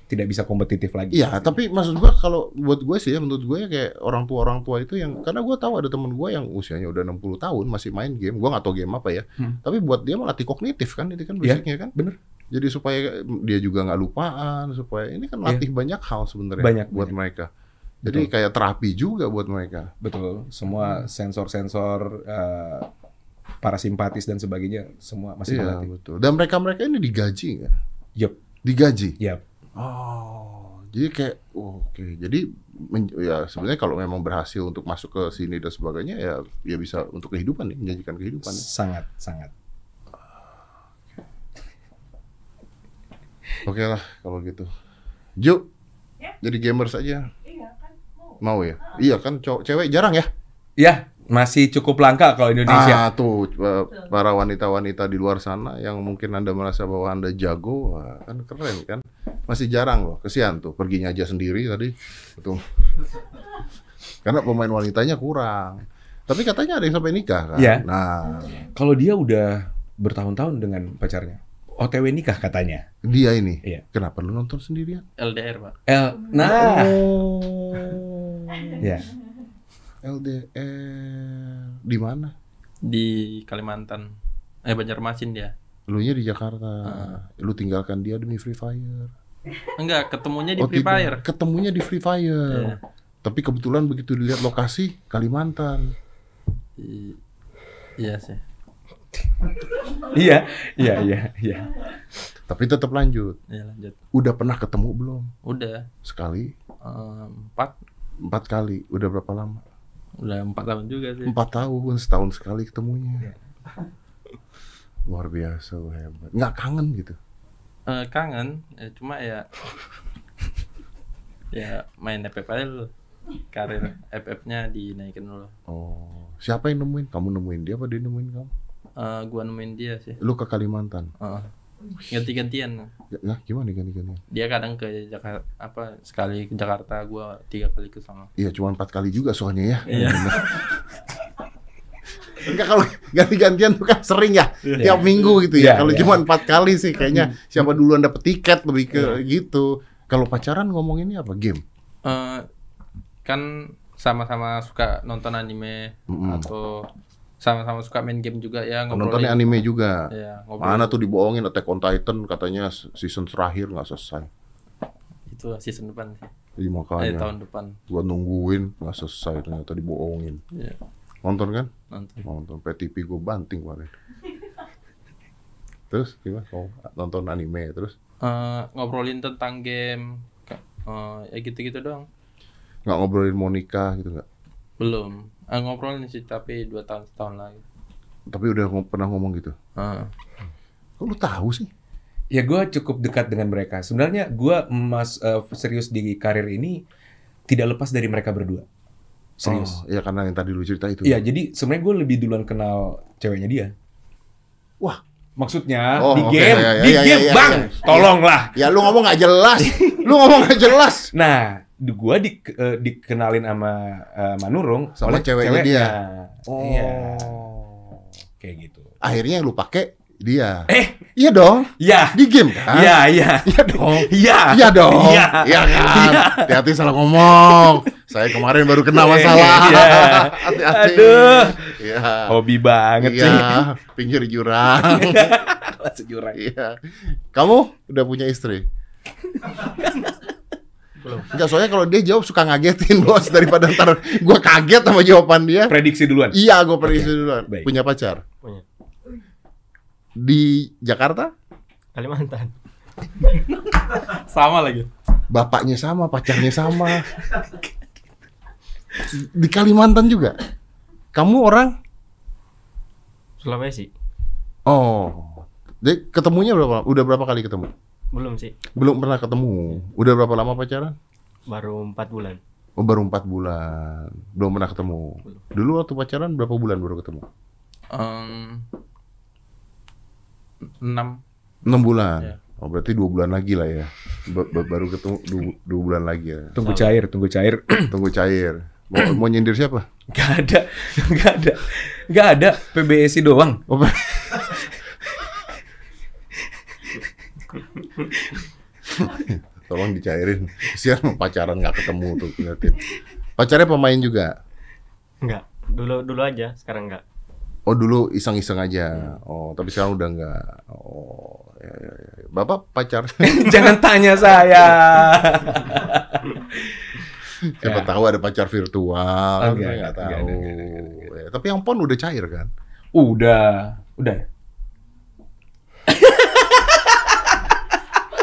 Speaker 5: tidak bisa kompetitif lagi.
Speaker 2: Iya, tapi maksud gua kalau buat gue sih ya, menurut gue ya kayak orang tua orang tua itu yang karena gua tahu ada temen gue yang usianya udah 60 tahun masih main game, gua nggak tahu game apa ya.
Speaker 5: Hmm.
Speaker 2: Tapi buat dia melatih kognitif kan, itu kan
Speaker 5: Iya,
Speaker 2: basicnya kan.
Speaker 5: bener.
Speaker 2: Jadi supaya dia juga nggak lupaan, supaya ini kan latih banyak hal sebenarnya
Speaker 5: Iya. Banyak,
Speaker 2: buat
Speaker 5: banyak.
Speaker 2: mereka. Jadi
Speaker 5: Betul.
Speaker 2: kayak terapi juga buat mereka.
Speaker 5: Betul, semua sensor-sensor eh, parasimpatis dan sebagainya semua masih
Speaker 2: Iya,
Speaker 5: melatih.
Speaker 2: betul. Dan mereka-mereka ini digaji nggak?
Speaker 5: Yup.
Speaker 2: Digaji.
Speaker 5: Yap.
Speaker 2: Oh, jadi kayak oh, oke. Jadi men- ya sebenarnya kalau memang berhasil untuk masuk ke sini dan sebagainya ya ya bisa untuk kehidupan ya, menjanjikan kehidupan. ya.
Speaker 5: Sangat, sangat.
Speaker 2: Oke lah kalau gitu. Ju, jadi gamer saja. Mau ya? Iya kan cowok cewek jarang ya.
Speaker 5: Ya, masih cukup langka kalau Indonesia.
Speaker 2: Ah tuh eh, para wanita-wanita di luar sana yang mungkin Anda merasa bahwa Anda jago, wah, kan keren kan. Masih jarang loh. Kesian tuh perginya aja sendiri tadi. Tuh. Karena pemain wanitanya kurang. Tapi katanya ada yang sampai nikah kan.
Speaker 5: Iya.
Speaker 2: Nah,
Speaker 5: Kalau dia udah bertahun-tahun dengan pacarnya. OTW nikah katanya.
Speaker 2: dia ini.
Speaker 5: Iya.
Speaker 2: Kenapa lu nonton sendirian?
Speaker 4: LDR pak
Speaker 5: El, nah.
Speaker 2: Oh.
Speaker 5: Ya,
Speaker 2: LDR di mana?
Speaker 4: di Kalimantan eh Banjarmasin dia
Speaker 2: Lu nya di Jakarta.
Speaker 5: Ah.
Speaker 2: Lu tinggalkan dia demi Free Fire.
Speaker 4: enggak ketemunya di
Speaker 2: Oh,
Speaker 4: Free
Speaker 2: tidak.
Speaker 4: Fire
Speaker 2: Ketemunya di Free Fire.
Speaker 4: Iya.
Speaker 2: Tapi kebetulan begitu dilihat lokasi Kalimantan.
Speaker 4: I- iya sih
Speaker 5: iya, iya, iya, iya.
Speaker 2: Tapi tetap lanjut.
Speaker 4: ya lanjut
Speaker 2: Udah pernah ketemu belum?
Speaker 4: udah
Speaker 2: Sekali,
Speaker 4: eh, empat
Speaker 2: empat kali. Udah berapa lama?
Speaker 4: udah empat tahun juga sih
Speaker 2: Empat tahun, setahun sekali
Speaker 4: Iya.
Speaker 2: ketemunya. Luar biasa, lu hebat. Nggak kangen gitu.
Speaker 4: Eh, ya kangen eh, cuma ya ya main FF aja dulu karir FF-nya dinaikin dulu.
Speaker 2: Oh, siapa yang nemuin? Kamu nemuin dia apa dia nemuin kamu?
Speaker 4: Eh, gua nemuin dia sih.
Speaker 2: Lu ke Kalimantan.
Speaker 4: Heeh. Ganti-gantian.
Speaker 2: Ya, Lah, gimana ganti ganti?
Speaker 4: Dia kadang ke Jakarta apa sekali ke Jakarta, gua tiga kali ke sana.
Speaker 2: Iya, cuma empat kali juga soalnya ya.
Speaker 4: Iya.
Speaker 2: Enggak kalau ganti-gantian tuh kan sering ya, tiap minggu gitu ya.
Speaker 5: Iya,
Speaker 2: kalau
Speaker 5: iya. Hmm.
Speaker 2: cuma empat kali sih kayaknya siapa duluan dapet tiket lebih ke
Speaker 5: Iya.
Speaker 2: gitu. Kalau pacaran ngomonginnya apa? Game.
Speaker 4: Eh, kan sama-sama suka nonton anime
Speaker 2: Mm-mm.
Speaker 4: atau sama-sama suka main game juga ya
Speaker 2: Nontonnya anime juga.
Speaker 5: Iya.
Speaker 4: Ya, ngobrol.
Speaker 2: Mana tuh dibohongin Attack on Titan katanya season terakhir nggak selesai.
Speaker 4: Itu season depan sih.
Speaker 2: Jadi
Speaker 5: Iya,
Speaker 4: Eh,
Speaker 2: makanya
Speaker 4: tahun depan.
Speaker 2: gua nungguin nggak selesai ternyata dibohongin.
Speaker 4: Iya,
Speaker 2: Nonton kan?
Speaker 4: nonton.
Speaker 2: Nonton PTP gue banting kemarin. terus gimana? Oh, nonton anime terus
Speaker 4: Eh, ngobrolin tentang game Ka- eh, ya gitu-gitu doang.
Speaker 2: nggak ngobrolin Monica gitu nggak?
Speaker 4: Belum. Eh, ngobrolin sih tapi dua tahun setahun lagi.
Speaker 2: Tapi udah ngom- pernah ngomong gitu.
Speaker 4: Heeh.
Speaker 2: Kok lu tahu sih?
Speaker 5: Ya gue cukup dekat dengan mereka. Sebenarnya gue mas eh, serius di karir ini tidak lepas dari mereka berdua. Serius.
Speaker 2: Oh, gitu. ya karena yang tadi lu cerita itu.
Speaker 5: Iya, jadi sebenarnya gue lebih duluan kenal ceweknya dia.
Speaker 2: Wah.
Speaker 5: Maksudnya
Speaker 2: Oh,
Speaker 5: di
Speaker 2: oke,
Speaker 5: game,
Speaker 2: ya, ya,
Speaker 5: di
Speaker 2: ya,
Speaker 5: game
Speaker 2: ya, ya,
Speaker 5: bang,
Speaker 2: ya.
Speaker 5: tolonglah.
Speaker 2: Ya lu ngomong nggak jelas. lu ngomong nggak jelas.
Speaker 5: Nah, gue di, eh, dikenalin sama eh, Manurung
Speaker 2: Sama
Speaker 5: oleh
Speaker 2: ceweknya dia. Oh.
Speaker 5: Oh. Iya. Kayak gitu.
Speaker 2: Akhirnya yang lu pakai dia.
Speaker 5: Eh,
Speaker 2: Iya dong.
Speaker 5: ya,
Speaker 2: Di game kan?
Speaker 5: ya, ya,
Speaker 2: Iya dong.
Speaker 5: ya,
Speaker 2: Iya dong.
Speaker 5: Iya.
Speaker 2: Iya kan. Hati-hati salah ngomong. Saya kemarin baru kena masalah.
Speaker 5: Iya.
Speaker 2: Hati-hati.
Speaker 5: Aduh.
Speaker 2: Iya.
Speaker 5: Hobi banget
Speaker 2: Iya. Pinggir jurang.
Speaker 5: sih. Jurang.
Speaker 2: Iya. Kamu udah punya istri? Belum. Enggak, soalnya kalau dia jawab suka ngagetin bos daripada ntar gua kaget sama jawaban dia.
Speaker 5: Prediksi duluan.
Speaker 2: Iya, gua pernah istri duluan.
Speaker 5: baik.
Speaker 2: Punya pacar?
Speaker 6: Punya.
Speaker 2: Di Jakarta?
Speaker 6: Kalimantan.
Speaker 4: Sama lagi.
Speaker 2: Bapaknya sama, pacarnya sama. Di Kalimantan juga? Kamu orang?
Speaker 6: Sulawesi.
Speaker 2: Oh. Jadi ketemunya berapa? Udah berapa kali ketemu?
Speaker 6: Belum sih.
Speaker 2: Belum pernah ketemu. Udah berapa lama pacaran?
Speaker 6: Baru 4 bulan.
Speaker 2: Oh, baru empat bulan, belum pernah ketemu. Dulu waktu pacaran berapa bulan baru ketemu?
Speaker 4: Em, enam
Speaker 2: Enam bulan.
Speaker 4: Iya.
Speaker 2: Oh berarti dua bulan lagi lah ya. Ba- ba- baru ketemu dua, bu- dua bulan lagi ya.
Speaker 5: Tunggu cair, tunggu cair.
Speaker 2: Tunggu cair. Mau, mau nyindir siapa?
Speaker 5: Gak ada, gak ada, gak ada. PBSI doang.
Speaker 2: Oh, Pak. Tolong dicairin. Siapa pacaran nggak ketemu tuh ngeliatin. Pacarnya pemain juga.
Speaker 6: Enggak. Dulu dulu aja, sekarang enggak.
Speaker 2: Oh dulu iseng-iseng aja. Oh tapi sekarang udah nggak. Oh ya, ya, ya. Bapak pacar
Speaker 5: Jangan tanya saya.
Speaker 2: Siapa
Speaker 5: Ya.
Speaker 2: tahu ada pacar virtual,
Speaker 5: Oh,
Speaker 2: kan
Speaker 5: enggak,
Speaker 2: saya nggak
Speaker 5: enggak,
Speaker 2: tahu.
Speaker 5: enggak, enggak, enggak, enggak,
Speaker 2: Ya, Tapi yang pon udah cair kan?
Speaker 5: Udah, udah. ya?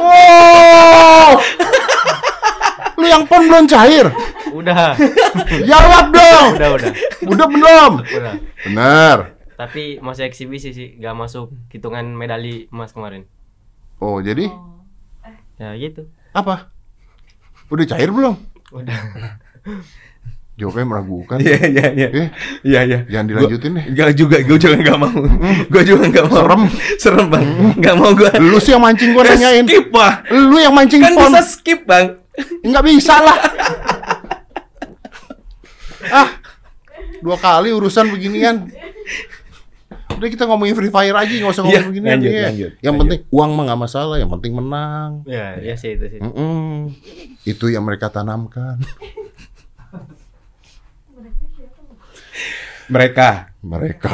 Speaker 2: Oh, lu yang pon belum cair?
Speaker 6: Udah.
Speaker 2: Jawab dong.
Speaker 6: udah, udah.
Speaker 2: Udah belum?
Speaker 6: Udah.
Speaker 2: Benar.
Speaker 6: Tapi masih eksibisi sih, gak masuk hitungan medali emas kemarin.
Speaker 2: Oh jadi
Speaker 6: Ya gitu.
Speaker 2: apa? Udah cair belum?
Speaker 6: Udah.
Speaker 2: Jawabnya meragukan.
Speaker 5: Iya, iya, iya.
Speaker 2: Eh,
Speaker 5: Iya, iya.
Speaker 2: Jangan dilanjutin deh. Hmm.
Speaker 5: Gak juga, gue juga gak mau. Gue juga gak mau.
Speaker 2: Serem. Hmm.
Speaker 5: Serem bang. Gak mau gue.
Speaker 2: Lu sih yang mancing gua nanyain.
Speaker 5: Skip bang.
Speaker 2: Lu yang mancing
Speaker 5: Kan
Speaker 2: pon.
Speaker 5: bisa skip bang.
Speaker 2: Nggak bisa lah. ah, dua kali urusan beginian. Udah kita ngomongin Free Fire aja, nggak usah ngomongin
Speaker 5: Iya,
Speaker 2: beginian.
Speaker 5: lanjut,
Speaker 2: iya.
Speaker 5: lanjut,
Speaker 2: yang
Speaker 5: lanjut.
Speaker 2: penting uang mah nggak masalah, yang penting menang.
Speaker 6: Ya, ya sih itu sih.
Speaker 2: Mm-mm. Itu yang mereka tanamkan.
Speaker 5: Mereka.
Speaker 2: Mereka.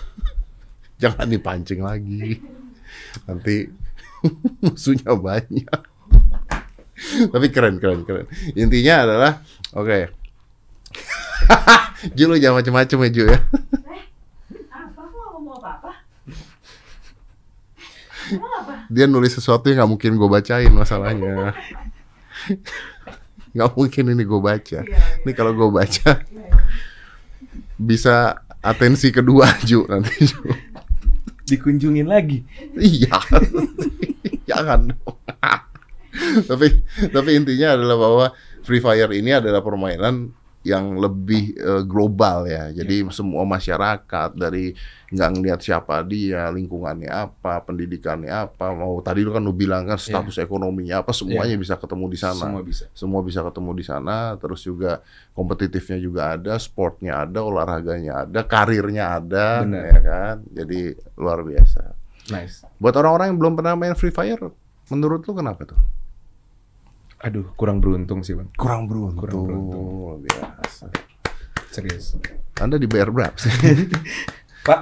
Speaker 2: Jangan dipancing lagi. Nanti musuhnya banyak. Tapi keren, keren, keren. Intinya adalah, oke. Ju lu jangan macem-macem ya Ju
Speaker 7: Eh,
Speaker 2: ya.
Speaker 7: Apa? Aku nggak ngomong apa-apa. Emang apa?
Speaker 2: Dia nulis sesuatu yang nggak mungkin gue bacain masalahnya. Nggak mungkin ini gue
Speaker 7: Iya,
Speaker 2: baca. Ini kalau gue baca bisa atensi kedua Ju nanti Ju.
Speaker 5: Dikunjungin lagi.
Speaker 2: Iya. Jangan. dong. tapi tapi intinya adalah bahwa Free Fire ini adalah permainan yang lebih eh, global ya. Jadi semua masyarakat dari nggak ngelihat siapa dia, lingkungannya apa, pendidikannya apa, mau tadi lu kan lu bilang kan status ekonominya apa, semuanya bisa ketemu di sana.
Speaker 5: Semua bisa.
Speaker 2: Semua bisa ketemu di sana, terus juga kompetitifnya juga ada, sportnya ada, olahraganya ada, karirnya ada,
Speaker 5: Benar.
Speaker 2: ya kan. Jadi luar biasa.
Speaker 5: Nice.
Speaker 2: Buat orang-orang yang belum pernah main Free Fire, menurut lu kenapa tuh?
Speaker 5: Aduh, kurang beruntung sih bang.
Speaker 2: Kurang beruntung.
Speaker 5: Kurang beruntung.
Speaker 2: Luar biasa.
Speaker 5: Serius.
Speaker 2: Anda dibayar berapa sih?
Speaker 5: Pak.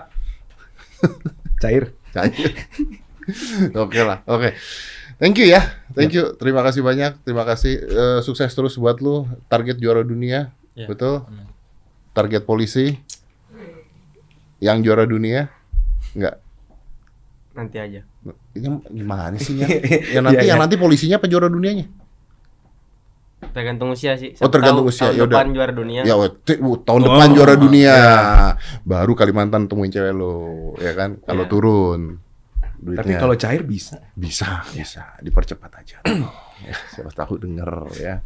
Speaker 5: Cair.
Speaker 2: Cair. Oke lah, oke. Thank you ya, thank you. Terima kasih banyak, terima kasih. Eh, sukses terus buat lu. Target juara dunia,
Speaker 4: Ya.
Speaker 2: betul?
Speaker 4: Amin.
Speaker 2: Target polisi, yang juara dunia, enggak.
Speaker 6: Nanti aja.
Speaker 2: Ini gimana sih ya? Yang nanti,
Speaker 5: Iya, iya.
Speaker 2: yang nanti polisinya apa juara dunianya?
Speaker 6: Tergantung usia sih.
Speaker 2: Oh,
Speaker 6: Siapa
Speaker 2: tergantung
Speaker 6: tahu
Speaker 2: usia,
Speaker 6: tahun
Speaker 2: yaudah.
Speaker 6: depan juara dunia.
Speaker 2: Ya, weh, ti- wuh, tahun depan juara dunia. Baru Kalimantan temuin cewek lo, ya kan? Kalau
Speaker 6: Iya.
Speaker 2: turun.
Speaker 5: Tapi
Speaker 2: duitnya.
Speaker 5: kalau cair bisa.
Speaker 2: Bisa, bisa. Dipercepat aja. Ya, Siapa tahu denger ya.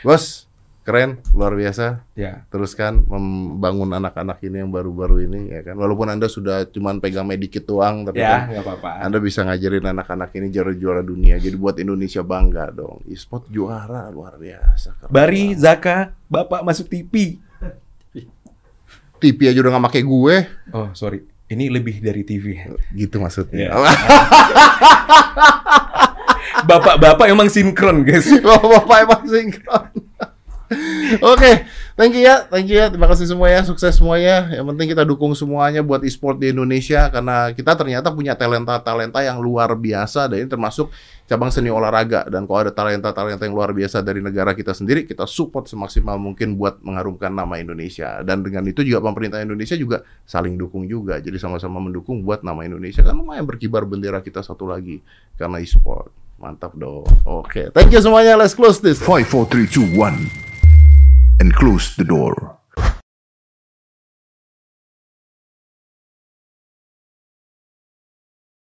Speaker 2: Bos, keren, luar biasa.
Speaker 5: Ya.
Speaker 2: Teruskan membangun anak-anak ini yang baru-baru ini ya kan. Walaupun Anda sudah cuman pegang medikit doang tapi
Speaker 5: Ya,
Speaker 2: kan
Speaker 5: nggak apa-apa.
Speaker 2: Anda bisa ngajarin anak-anak ini juara-juara dunia. Jadi buat Indonesia bangga dong. E-sport juara luar biasa. Keren
Speaker 5: Bari,
Speaker 2: banget.
Speaker 5: Zaka, Bapak masuk TV.
Speaker 2: TV aja udah gak make gue.
Speaker 5: Oh, sorry. Ini lebih dari TV.
Speaker 2: Gitu
Speaker 5: Iya.
Speaker 2: maksudnya.
Speaker 5: Bapak-bapak emang sinkron, guys.
Speaker 2: Bapak emang sinkron. Oke, thank you ya, thank you ya. Terima kasih semua ya, sukses semuanya. Yang penting kita dukung semuanya buat e-sport di Indonesia karena kita ternyata punya talenta-talenta yang luar biasa dan ini termasuk cabang seni olahraga dan kalau ada talenta-talenta yang luar biasa dari negara kita sendiri, kita support semaksimal mungkin buat mengharumkan nama Indonesia. Dan dengan itu juga pemerintah Indonesia juga saling dukung juga. Jadi sama-sama mendukung buat nama Indonesia kan lumayan berkibar bendera kita satu lagi karena e-sport. Mantap dong. Oke, thank you semuanya. Let's close this.
Speaker 3: 5, 4, 3, 2, 1, and close the door.